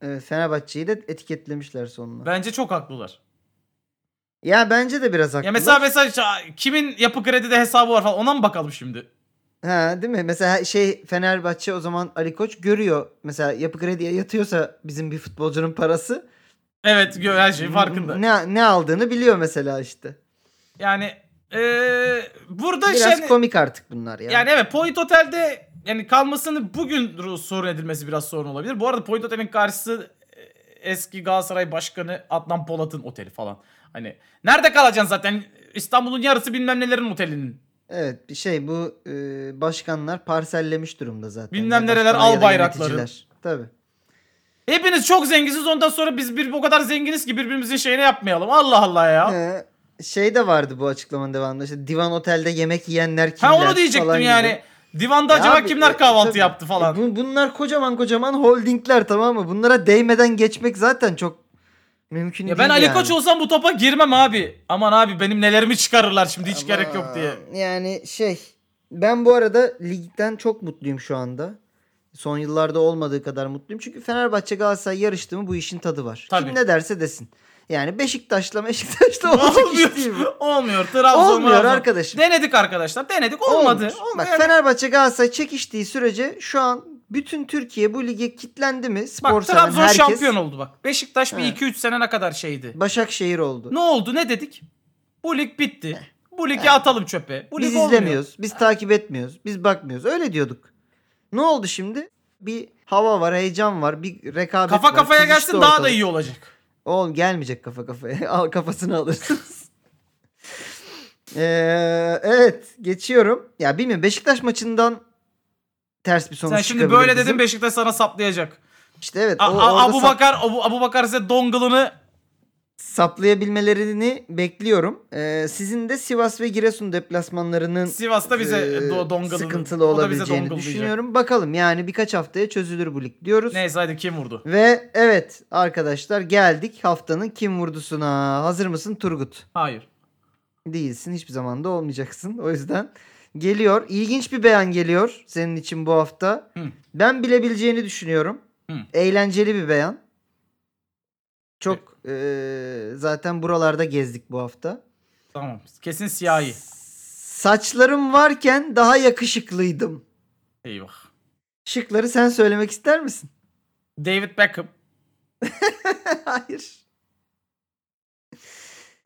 Speaker 3: evet E, Fenerbahçe'yi de etiketlemişler sonuna.
Speaker 2: Bence çok haklılar.
Speaker 3: Ya bence de biraz haklı.
Speaker 2: Ya mesela mesela ça- kimin yapı kredide hesabı var falan ona mı bakalım şimdi?
Speaker 3: Ha değil mi? Mesela şey Fenerbahçe o zaman Ali Koç görüyor. Mesela yapı krediye yatıyorsa bizim bir futbolcunun parası.
Speaker 2: Evet gö- her şey farkında.
Speaker 3: Hmm, Ne, ne aldığını biliyor mesela işte.
Speaker 2: Yani eee, burada
Speaker 3: Biraz
Speaker 2: şey-
Speaker 3: komik artık bunlar ya.
Speaker 2: Yani evet Point Otel'de yani kalmasını bugün ru- sorun edilmesi biraz sorun olabilir. Bu arada Point Otel'in karşısı e, eski Galatasaray Başkanı Adnan Polat'ın oteli falan. Hani nerede kalacaksın zaten? İstanbul'un yarısı bilmem nelerin otelinin.
Speaker 3: Evet bir şey bu e, başkanlar parsellemiş durumda zaten.
Speaker 2: Bilmem
Speaker 3: Ya
Speaker 2: nereler,
Speaker 3: başkan
Speaker 2: al
Speaker 3: ya da
Speaker 2: bayrakları.
Speaker 3: yöneticiler. Tabii.
Speaker 2: Hepiniz çok zenginiz ondan sonra biz bir o kadar zenginiz ki birbirimizin şeyini yapmayalım. Allah Allah ya.
Speaker 3: Ee, şey de vardı bu açıklamanın devamında işte divan otelde yemek yiyenler kimler
Speaker 2: ha onu
Speaker 3: falan
Speaker 2: diyecektim
Speaker 3: gibi.
Speaker 2: yani. Divanda
Speaker 3: Ya
Speaker 2: acaba
Speaker 3: abi,
Speaker 2: kimler
Speaker 3: e,
Speaker 2: kahvaltı
Speaker 3: tabii.
Speaker 2: yaptı falan.
Speaker 3: E, bu- bunlar kocaman kocaman holdingler tamam mı? Bunlara değmeden geçmek zaten çok mümkün
Speaker 2: ya
Speaker 3: değil
Speaker 2: ben Ali
Speaker 3: yani.
Speaker 2: Koç olsam bu topa girmem abi. Aman abi benim nelerimi çıkarırlar şimdi hiç gerek yok diye.
Speaker 3: Aman, Yani şey ben bu arada ligden çok mutluyum şu anda. Son yıllarda olmadığı kadar mutluyum. Çünkü Fenerbahçe Galatasaray yarıştı mı bu işin tadı var.
Speaker 2: Tabii.
Speaker 3: Kim ne derse desin. Yani Beşiktaş'la
Speaker 2: [LAUGHS]
Speaker 3: Beşiktaş'la olacak iş değil bu.
Speaker 2: Olmuyor. Olmuyor. Trabzon
Speaker 3: Olmuyor
Speaker 2: Trabzon.
Speaker 3: arkadaşım.
Speaker 2: Denedik arkadaşlar. Denedik. Olmadı.
Speaker 3: Olmuş.
Speaker 2: Olmuyor.
Speaker 3: Bak Fenerbahçe Galatasaray çekiştiği sürece şu an bütün Türkiye bu lige kitlendi mi? Spor
Speaker 2: Bak
Speaker 3: seven
Speaker 2: Trabzon
Speaker 3: herkes
Speaker 2: şampiyon oldu bak. Beşiktaş bir
Speaker 3: Evet.
Speaker 2: 2-3 sene ne kadar şeydi.
Speaker 3: Başakşehir oldu.
Speaker 2: Ne oldu? Ne dedik? Bu lig bitti. Bu ligi atalım çöpe. Bu
Speaker 3: Biz
Speaker 2: lig olmuyor.
Speaker 3: izlemiyoruz. Biz takip etmiyoruz. Biz bakmıyoruz. Öyle diyorduk. Ne oldu şimdi? Bir hava var, heyecan var, bir rekabet var.
Speaker 2: Kafa kafaya
Speaker 3: kızıştı
Speaker 2: gelsin daha da
Speaker 3: ortalık.
Speaker 2: iyi olacak.
Speaker 3: Oğlum gelmeyecek kafa kafaya. [LAUGHS] Al kafasını alırsınız. [LAUGHS] Ee, evet, geçiyorum. Ya bilmiyorum Beşiktaş maçından ters bir sonuç
Speaker 2: Sen şimdi
Speaker 3: çıkabilir
Speaker 2: böyle
Speaker 3: bizim.
Speaker 2: dedin Beşiktaş sana saplayacak.
Speaker 3: İşte evet.
Speaker 2: A-
Speaker 3: o-
Speaker 2: A-
Speaker 3: orada
Speaker 2: Abu
Speaker 3: sap-
Speaker 2: Bakar Abu, Abu Bakar size dongalını
Speaker 3: saplayabilmelerini bekliyorum. Ee, sizin de Sivas ve Giresun deplasmanlarının
Speaker 2: Sivas'ta bize
Speaker 3: e,
Speaker 2: do- dongalını o
Speaker 3: sıkıntılı
Speaker 2: da bize
Speaker 3: olabileceğini
Speaker 2: dongalayacak.
Speaker 3: düşünüyorum. Bakalım yani birkaç haftaya çözülür bu lig diyoruz.
Speaker 2: Neyse hadi kim vurdu?
Speaker 3: Ve evet arkadaşlar geldik haftanın kim vurdusuna. Hazır mısın Turgut?
Speaker 2: Hayır.
Speaker 3: Değilsin hiçbir zaman da olmayacaksın. O yüzden geliyor. İlginç bir beyan geliyor senin için bu hafta.
Speaker 2: Hı.
Speaker 3: Ben bilebileceğini düşünüyorum.
Speaker 2: Hı.
Speaker 3: Eğlenceli bir beyan. Çok e, zaten buralarda gezdik bu hafta.
Speaker 2: Tamam. Kesin siyahi.
Speaker 3: Saçlarım varken daha yakışıklıydım.
Speaker 2: Eyvah.
Speaker 3: Şıkları sen söylemek ister misin? [LAUGHS]
Speaker 2: David Beckham.
Speaker 3: Hayır.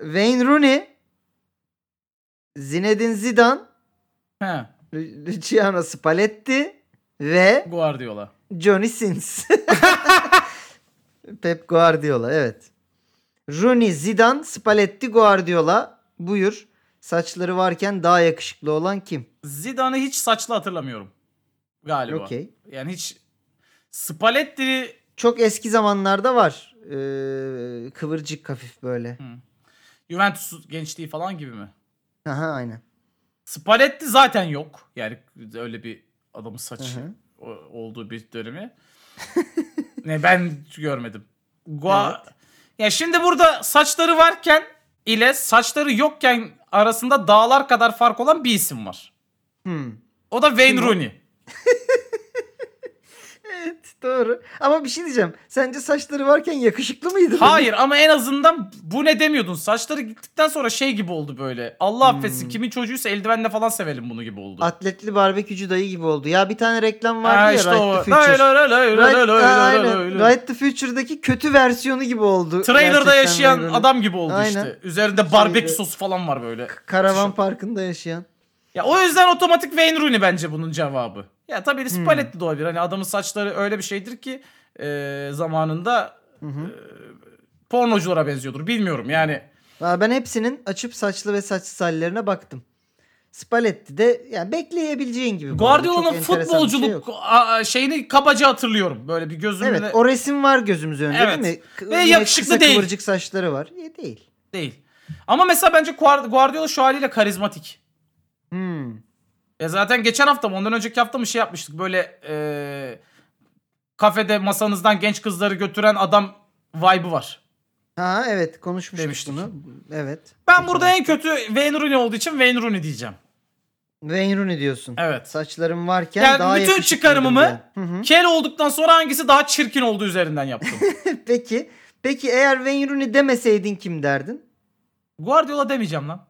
Speaker 3: Wayne Rooney, Zinedine Zidane,
Speaker 2: He.
Speaker 3: Lu- Luciano Spalletti ve
Speaker 2: Guardiola.
Speaker 3: Johnny Sins. [LAUGHS] Pep Guardiola evet. Rooney, Zidane, Spalletti, Guardiola. Buyur. Saçları varken daha yakışıklı olan kim?
Speaker 2: Zidane'ı hiç saçlı hatırlamıyorum. Galiba.
Speaker 3: Okey.
Speaker 2: Yani hiç Spalletti
Speaker 3: Çok eski zamanlarda var. Ee, kıvırcık hafif böyle.
Speaker 2: Juventus gençliği falan gibi mi?
Speaker 3: Aha aynen.
Speaker 2: Spalletti zaten yok. Yani öyle bir adamın saçı
Speaker 3: Hı hı.
Speaker 2: o- olduğu bir dönemi. [LAUGHS] ne ben görmedim. Gua... Ya şimdi burada saçları varken ile saçları yokken arasında dağlar kadar fark olan bir isim var.
Speaker 3: Hmm.
Speaker 2: O da Wayne
Speaker 3: Kim o?
Speaker 2: Rooney.
Speaker 3: Evet doğru. Ama bir şey diyeceğim. Sence saçları varken yakışıklı mıydı?
Speaker 2: Hayır ama en azından bu ne demiyordun. Saçları gittikten sonra şey gibi oldu böyle. Allah
Speaker 3: Hmm.
Speaker 2: affetsin kimin çocuğuysa eldivenle falan sevelim bunu gibi oldu.
Speaker 3: Atletli barbekücü dayı gibi oldu. Ya bir tane reklam vardı
Speaker 2: Ha,
Speaker 3: ya
Speaker 2: işte
Speaker 3: Right
Speaker 2: o.
Speaker 3: to Future. Right, Aa, aynen.
Speaker 2: Aynen.
Speaker 3: Right to Future'daki kötü versiyonu gibi oldu.
Speaker 2: Trailer'da
Speaker 3: Gerçekten
Speaker 2: yaşayan
Speaker 3: Wayne Rooney.
Speaker 2: adam gibi oldu işte.
Speaker 3: Aynen.
Speaker 2: Üzerinde barbekü
Speaker 3: Şeyde-
Speaker 2: sosu falan var böyle.
Speaker 3: Karavan parkında yaşayan.
Speaker 2: Ya o yüzden otomatik Wayne Rooney bence bunun cevabı. Ya
Speaker 3: Hmm.
Speaker 2: tabii Spalletti de olabilir. Hani adamın saçları öyle bir şeydir ki e, zamanında
Speaker 3: Hı hı.
Speaker 2: pornoculara benziyordur. Bilmiyorum yani.
Speaker 3: Aa, Ben hepsinin açıp saçlı ve saçsız hallerine baktım. Spalletti de yani bekleyebileceğin gibi. bu arada. Çok
Speaker 2: Guardiola'nın
Speaker 3: enteresan bir şey
Speaker 2: futbolculuk
Speaker 3: yok.
Speaker 2: a- a- şeyini kabaca hatırlıyorum. Böyle bir gözümle
Speaker 3: evet o resim var gözümüz önünde
Speaker 2: Evet.
Speaker 3: değil mi? K-
Speaker 2: Ve
Speaker 3: yine
Speaker 2: yakışıklı
Speaker 3: kısa
Speaker 2: değil.
Speaker 3: Kıvırcık saçları var. Ya, değil.
Speaker 2: değil. Ama mesela bence Guard- Guardiola şu haliyle karizmatik.
Speaker 3: Hmm.
Speaker 2: E zaten geçen hafta mı ondan önceki hafta mı şey yapmıştık böyle e, kafede masanızdan genç kızları götüren adam vibe'ı var.
Speaker 3: Ha evet konuşmuştuk
Speaker 2: Demiştik.
Speaker 3: bunu. Evet.
Speaker 2: Ben burada en kötü Wayne Rooney olduğu için Wayne Rooney diyeceğim.
Speaker 3: Wayne Rooney diyorsun.
Speaker 2: Evet.
Speaker 3: Saçlarım varken
Speaker 2: Yani
Speaker 3: daha
Speaker 2: bütün
Speaker 3: yakışıklıydım
Speaker 2: çıkarımımı-
Speaker 3: diye. Hı hı.
Speaker 2: Kel olduktan sonra hangisi daha çirkin olduğu üzerinden
Speaker 3: [LAUGHS]
Speaker 2: yaptım.
Speaker 3: Peki. Peki eğer Wayne Rooney demeseydin kim derdin?
Speaker 2: Guardiola demeyeceğim lan.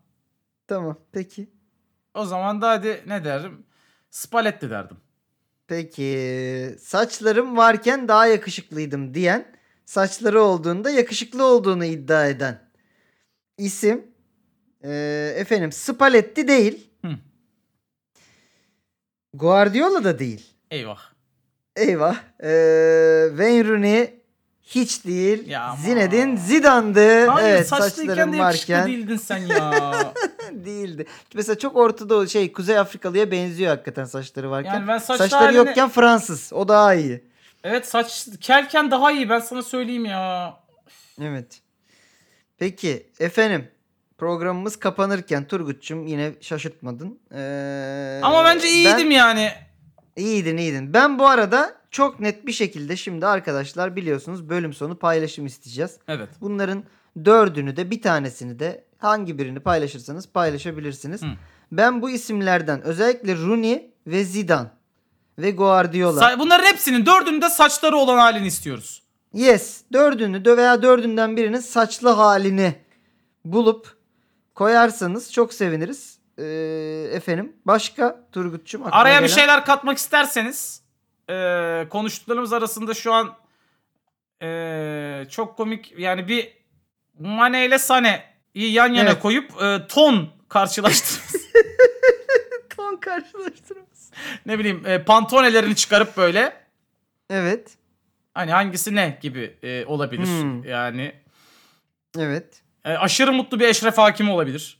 Speaker 3: Tamam. Peki.
Speaker 2: O zaman da hadi ne derim? Spalletti derdim.
Speaker 3: Peki. Saçlarım varken daha yakışıklıydım diyen, saçları olduğunda yakışıklı olduğunu iddia eden isim eee, efendim Spalletti değil.
Speaker 2: Hı.
Speaker 3: Guardiola da değil.
Speaker 2: Eyvah.
Speaker 3: Eyvah. Eee Wayne Rooney hiç değil.
Speaker 2: Ya ama.
Speaker 3: Zinedine Zidane'dı.
Speaker 2: Hayır
Speaker 3: evet,
Speaker 2: saçlıyken
Speaker 3: saçlarım
Speaker 2: de yakışıklı
Speaker 3: varken
Speaker 2: değildin sen
Speaker 3: [LAUGHS]
Speaker 2: ya.
Speaker 3: değildi. Mesela çok ortada şey Kuzey Afrikalı'ya benziyor hakikaten saçları varken.
Speaker 2: Yani ben saçlı
Speaker 3: saçları
Speaker 2: haline-
Speaker 3: yokken Fransız. O daha iyi.
Speaker 2: evet saç kelken daha iyi ben sana söyleyeyim ya.
Speaker 3: Evet. Peki efendim programımız kapanırken Turgut'cum yine şaşırtmadın. Ee,
Speaker 2: Ama bence iyiydim
Speaker 3: Ben,
Speaker 2: yani.
Speaker 3: iyiydin iyiydin. Ben bu arada çok net bir şekilde şimdi arkadaşlar biliyorsunuz bölüm sonu paylaşım isteyeceğiz.
Speaker 2: Evet.
Speaker 3: Bunların dördünü de bir tanesini de hangi birini paylaşırsanız paylaşabilirsiniz.
Speaker 2: Hı.
Speaker 3: Ben bu isimlerden özellikle Rooney ve Zidane ve Guardiola.
Speaker 2: Sa- Bunların hepsinin dördünün de saçları olan halini istiyoruz.
Speaker 3: Yes. Dördünü dö- veya dördünden birinin saçlı halini bulup koyarsanız çok seviniriz. Ee, efendim başka Turgut'cum aklına
Speaker 2: Araya bir şey-
Speaker 3: gelen-
Speaker 2: şeyler katmak isterseniz e, konuştuklarımız arasında şu an e, çok komik yani bir Mane ile Sane'yi yan yana
Speaker 3: Evet.
Speaker 2: koyup e, ton
Speaker 3: [LAUGHS]
Speaker 2: karşılaştırırız.
Speaker 3: Ton karşılaştırması.
Speaker 2: ne bileyim e, pantonelerini çıkarıp böyle
Speaker 3: Evet.
Speaker 2: hani hangisi ne gibi e, olabilir.
Speaker 3: Hmm.
Speaker 2: Yani
Speaker 3: Evet.
Speaker 2: e, aşırı mutlu bir Eşref Hakimi olabilir.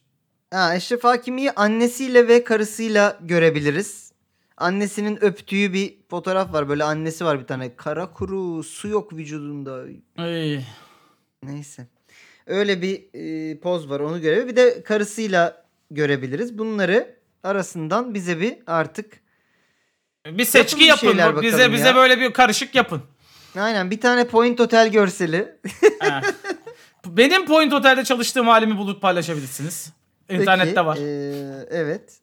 Speaker 3: Ha, Eşref Hakimi'yi annesiyle ve karısıyla görebiliriz. Annesinin öptüğü bir fotoğraf var. Böyle annesi var bir tane. Kara kuru su yok vücudunda.
Speaker 2: Ay,
Speaker 3: Neyse. Öyle bir e, poz var onu görevi. Bir de karısıyla görebiliriz. Bunları arasından bize bir artık
Speaker 2: bir seçki
Speaker 3: bir
Speaker 2: yapın.
Speaker 3: şeyler
Speaker 2: bize
Speaker 3: bakalım
Speaker 2: bize
Speaker 3: ya.
Speaker 2: böyle bir karışık
Speaker 3: [LAUGHS]
Speaker 2: yapın.
Speaker 3: aynen bir tane point otel görseli.
Speaker 2: Ha. Benim Point Otel'de çalıştığım halimi bulup paylaşabilirsiniz. [LAUGHS] İnternette
Speaker 3: Peki,
Speaker 2: var.
Speaker 3: e, evet.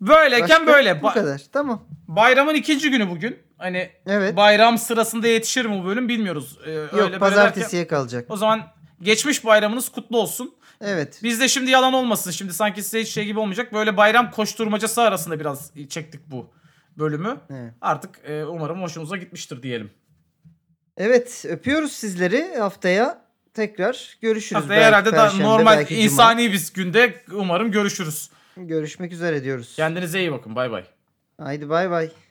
Speaker 2: Böyleyken
Speaker 3: Başka?
Speaker 2: böyle.
Speaker 3: Bu
Speaker 2: Ba-
Speaker 3: kadar. Tamam.
Speaker 2: bayramın ikinci günü bugün. Hani
Speaker 3: Evet.
Speaker 2: bayram sırasında yetişir mi bu bölüm bilmiyoruz. Ee,
Speaker 3: Yok
Speaker 2: böyle
Speaker 3: pazartesiye
Speaker 2: derken-
Speaker 3: kalacak.
Speaker 2: o zaman geçmiş bayramınız kutlu olsun.
Speaker 3: Evet.
Speaker 2: Biz de şimdi yalan olmasın. Şimdi sanki size hiç şey gibi olmayacak. Böyle bayram koşturmacası arasında biraz çektik bu bölümü.
Speaker 3: Evet.
Speaker 2: Artık e, umarım hoşunuza gitmiştir diyelim.
Speaker 3: Evet, öpüyoruz sizleri. Haftaya tekrar görüşürüz.
Speaker 2: Haftaya
Speaker 3: Belki
Speaker 2: herhalde daha
Speaker 3: Perşembe,
Speaker 2: normal
Speaker 3: belki Cuma.
Speaker 2: insani biz günde umarım görüşürüz.
Speaker 3: görüşmek üzere diyoruz.
Speaker 2: Kendinize iyi bakın. Bay bay.
Speaker 3: Haydi bay bay.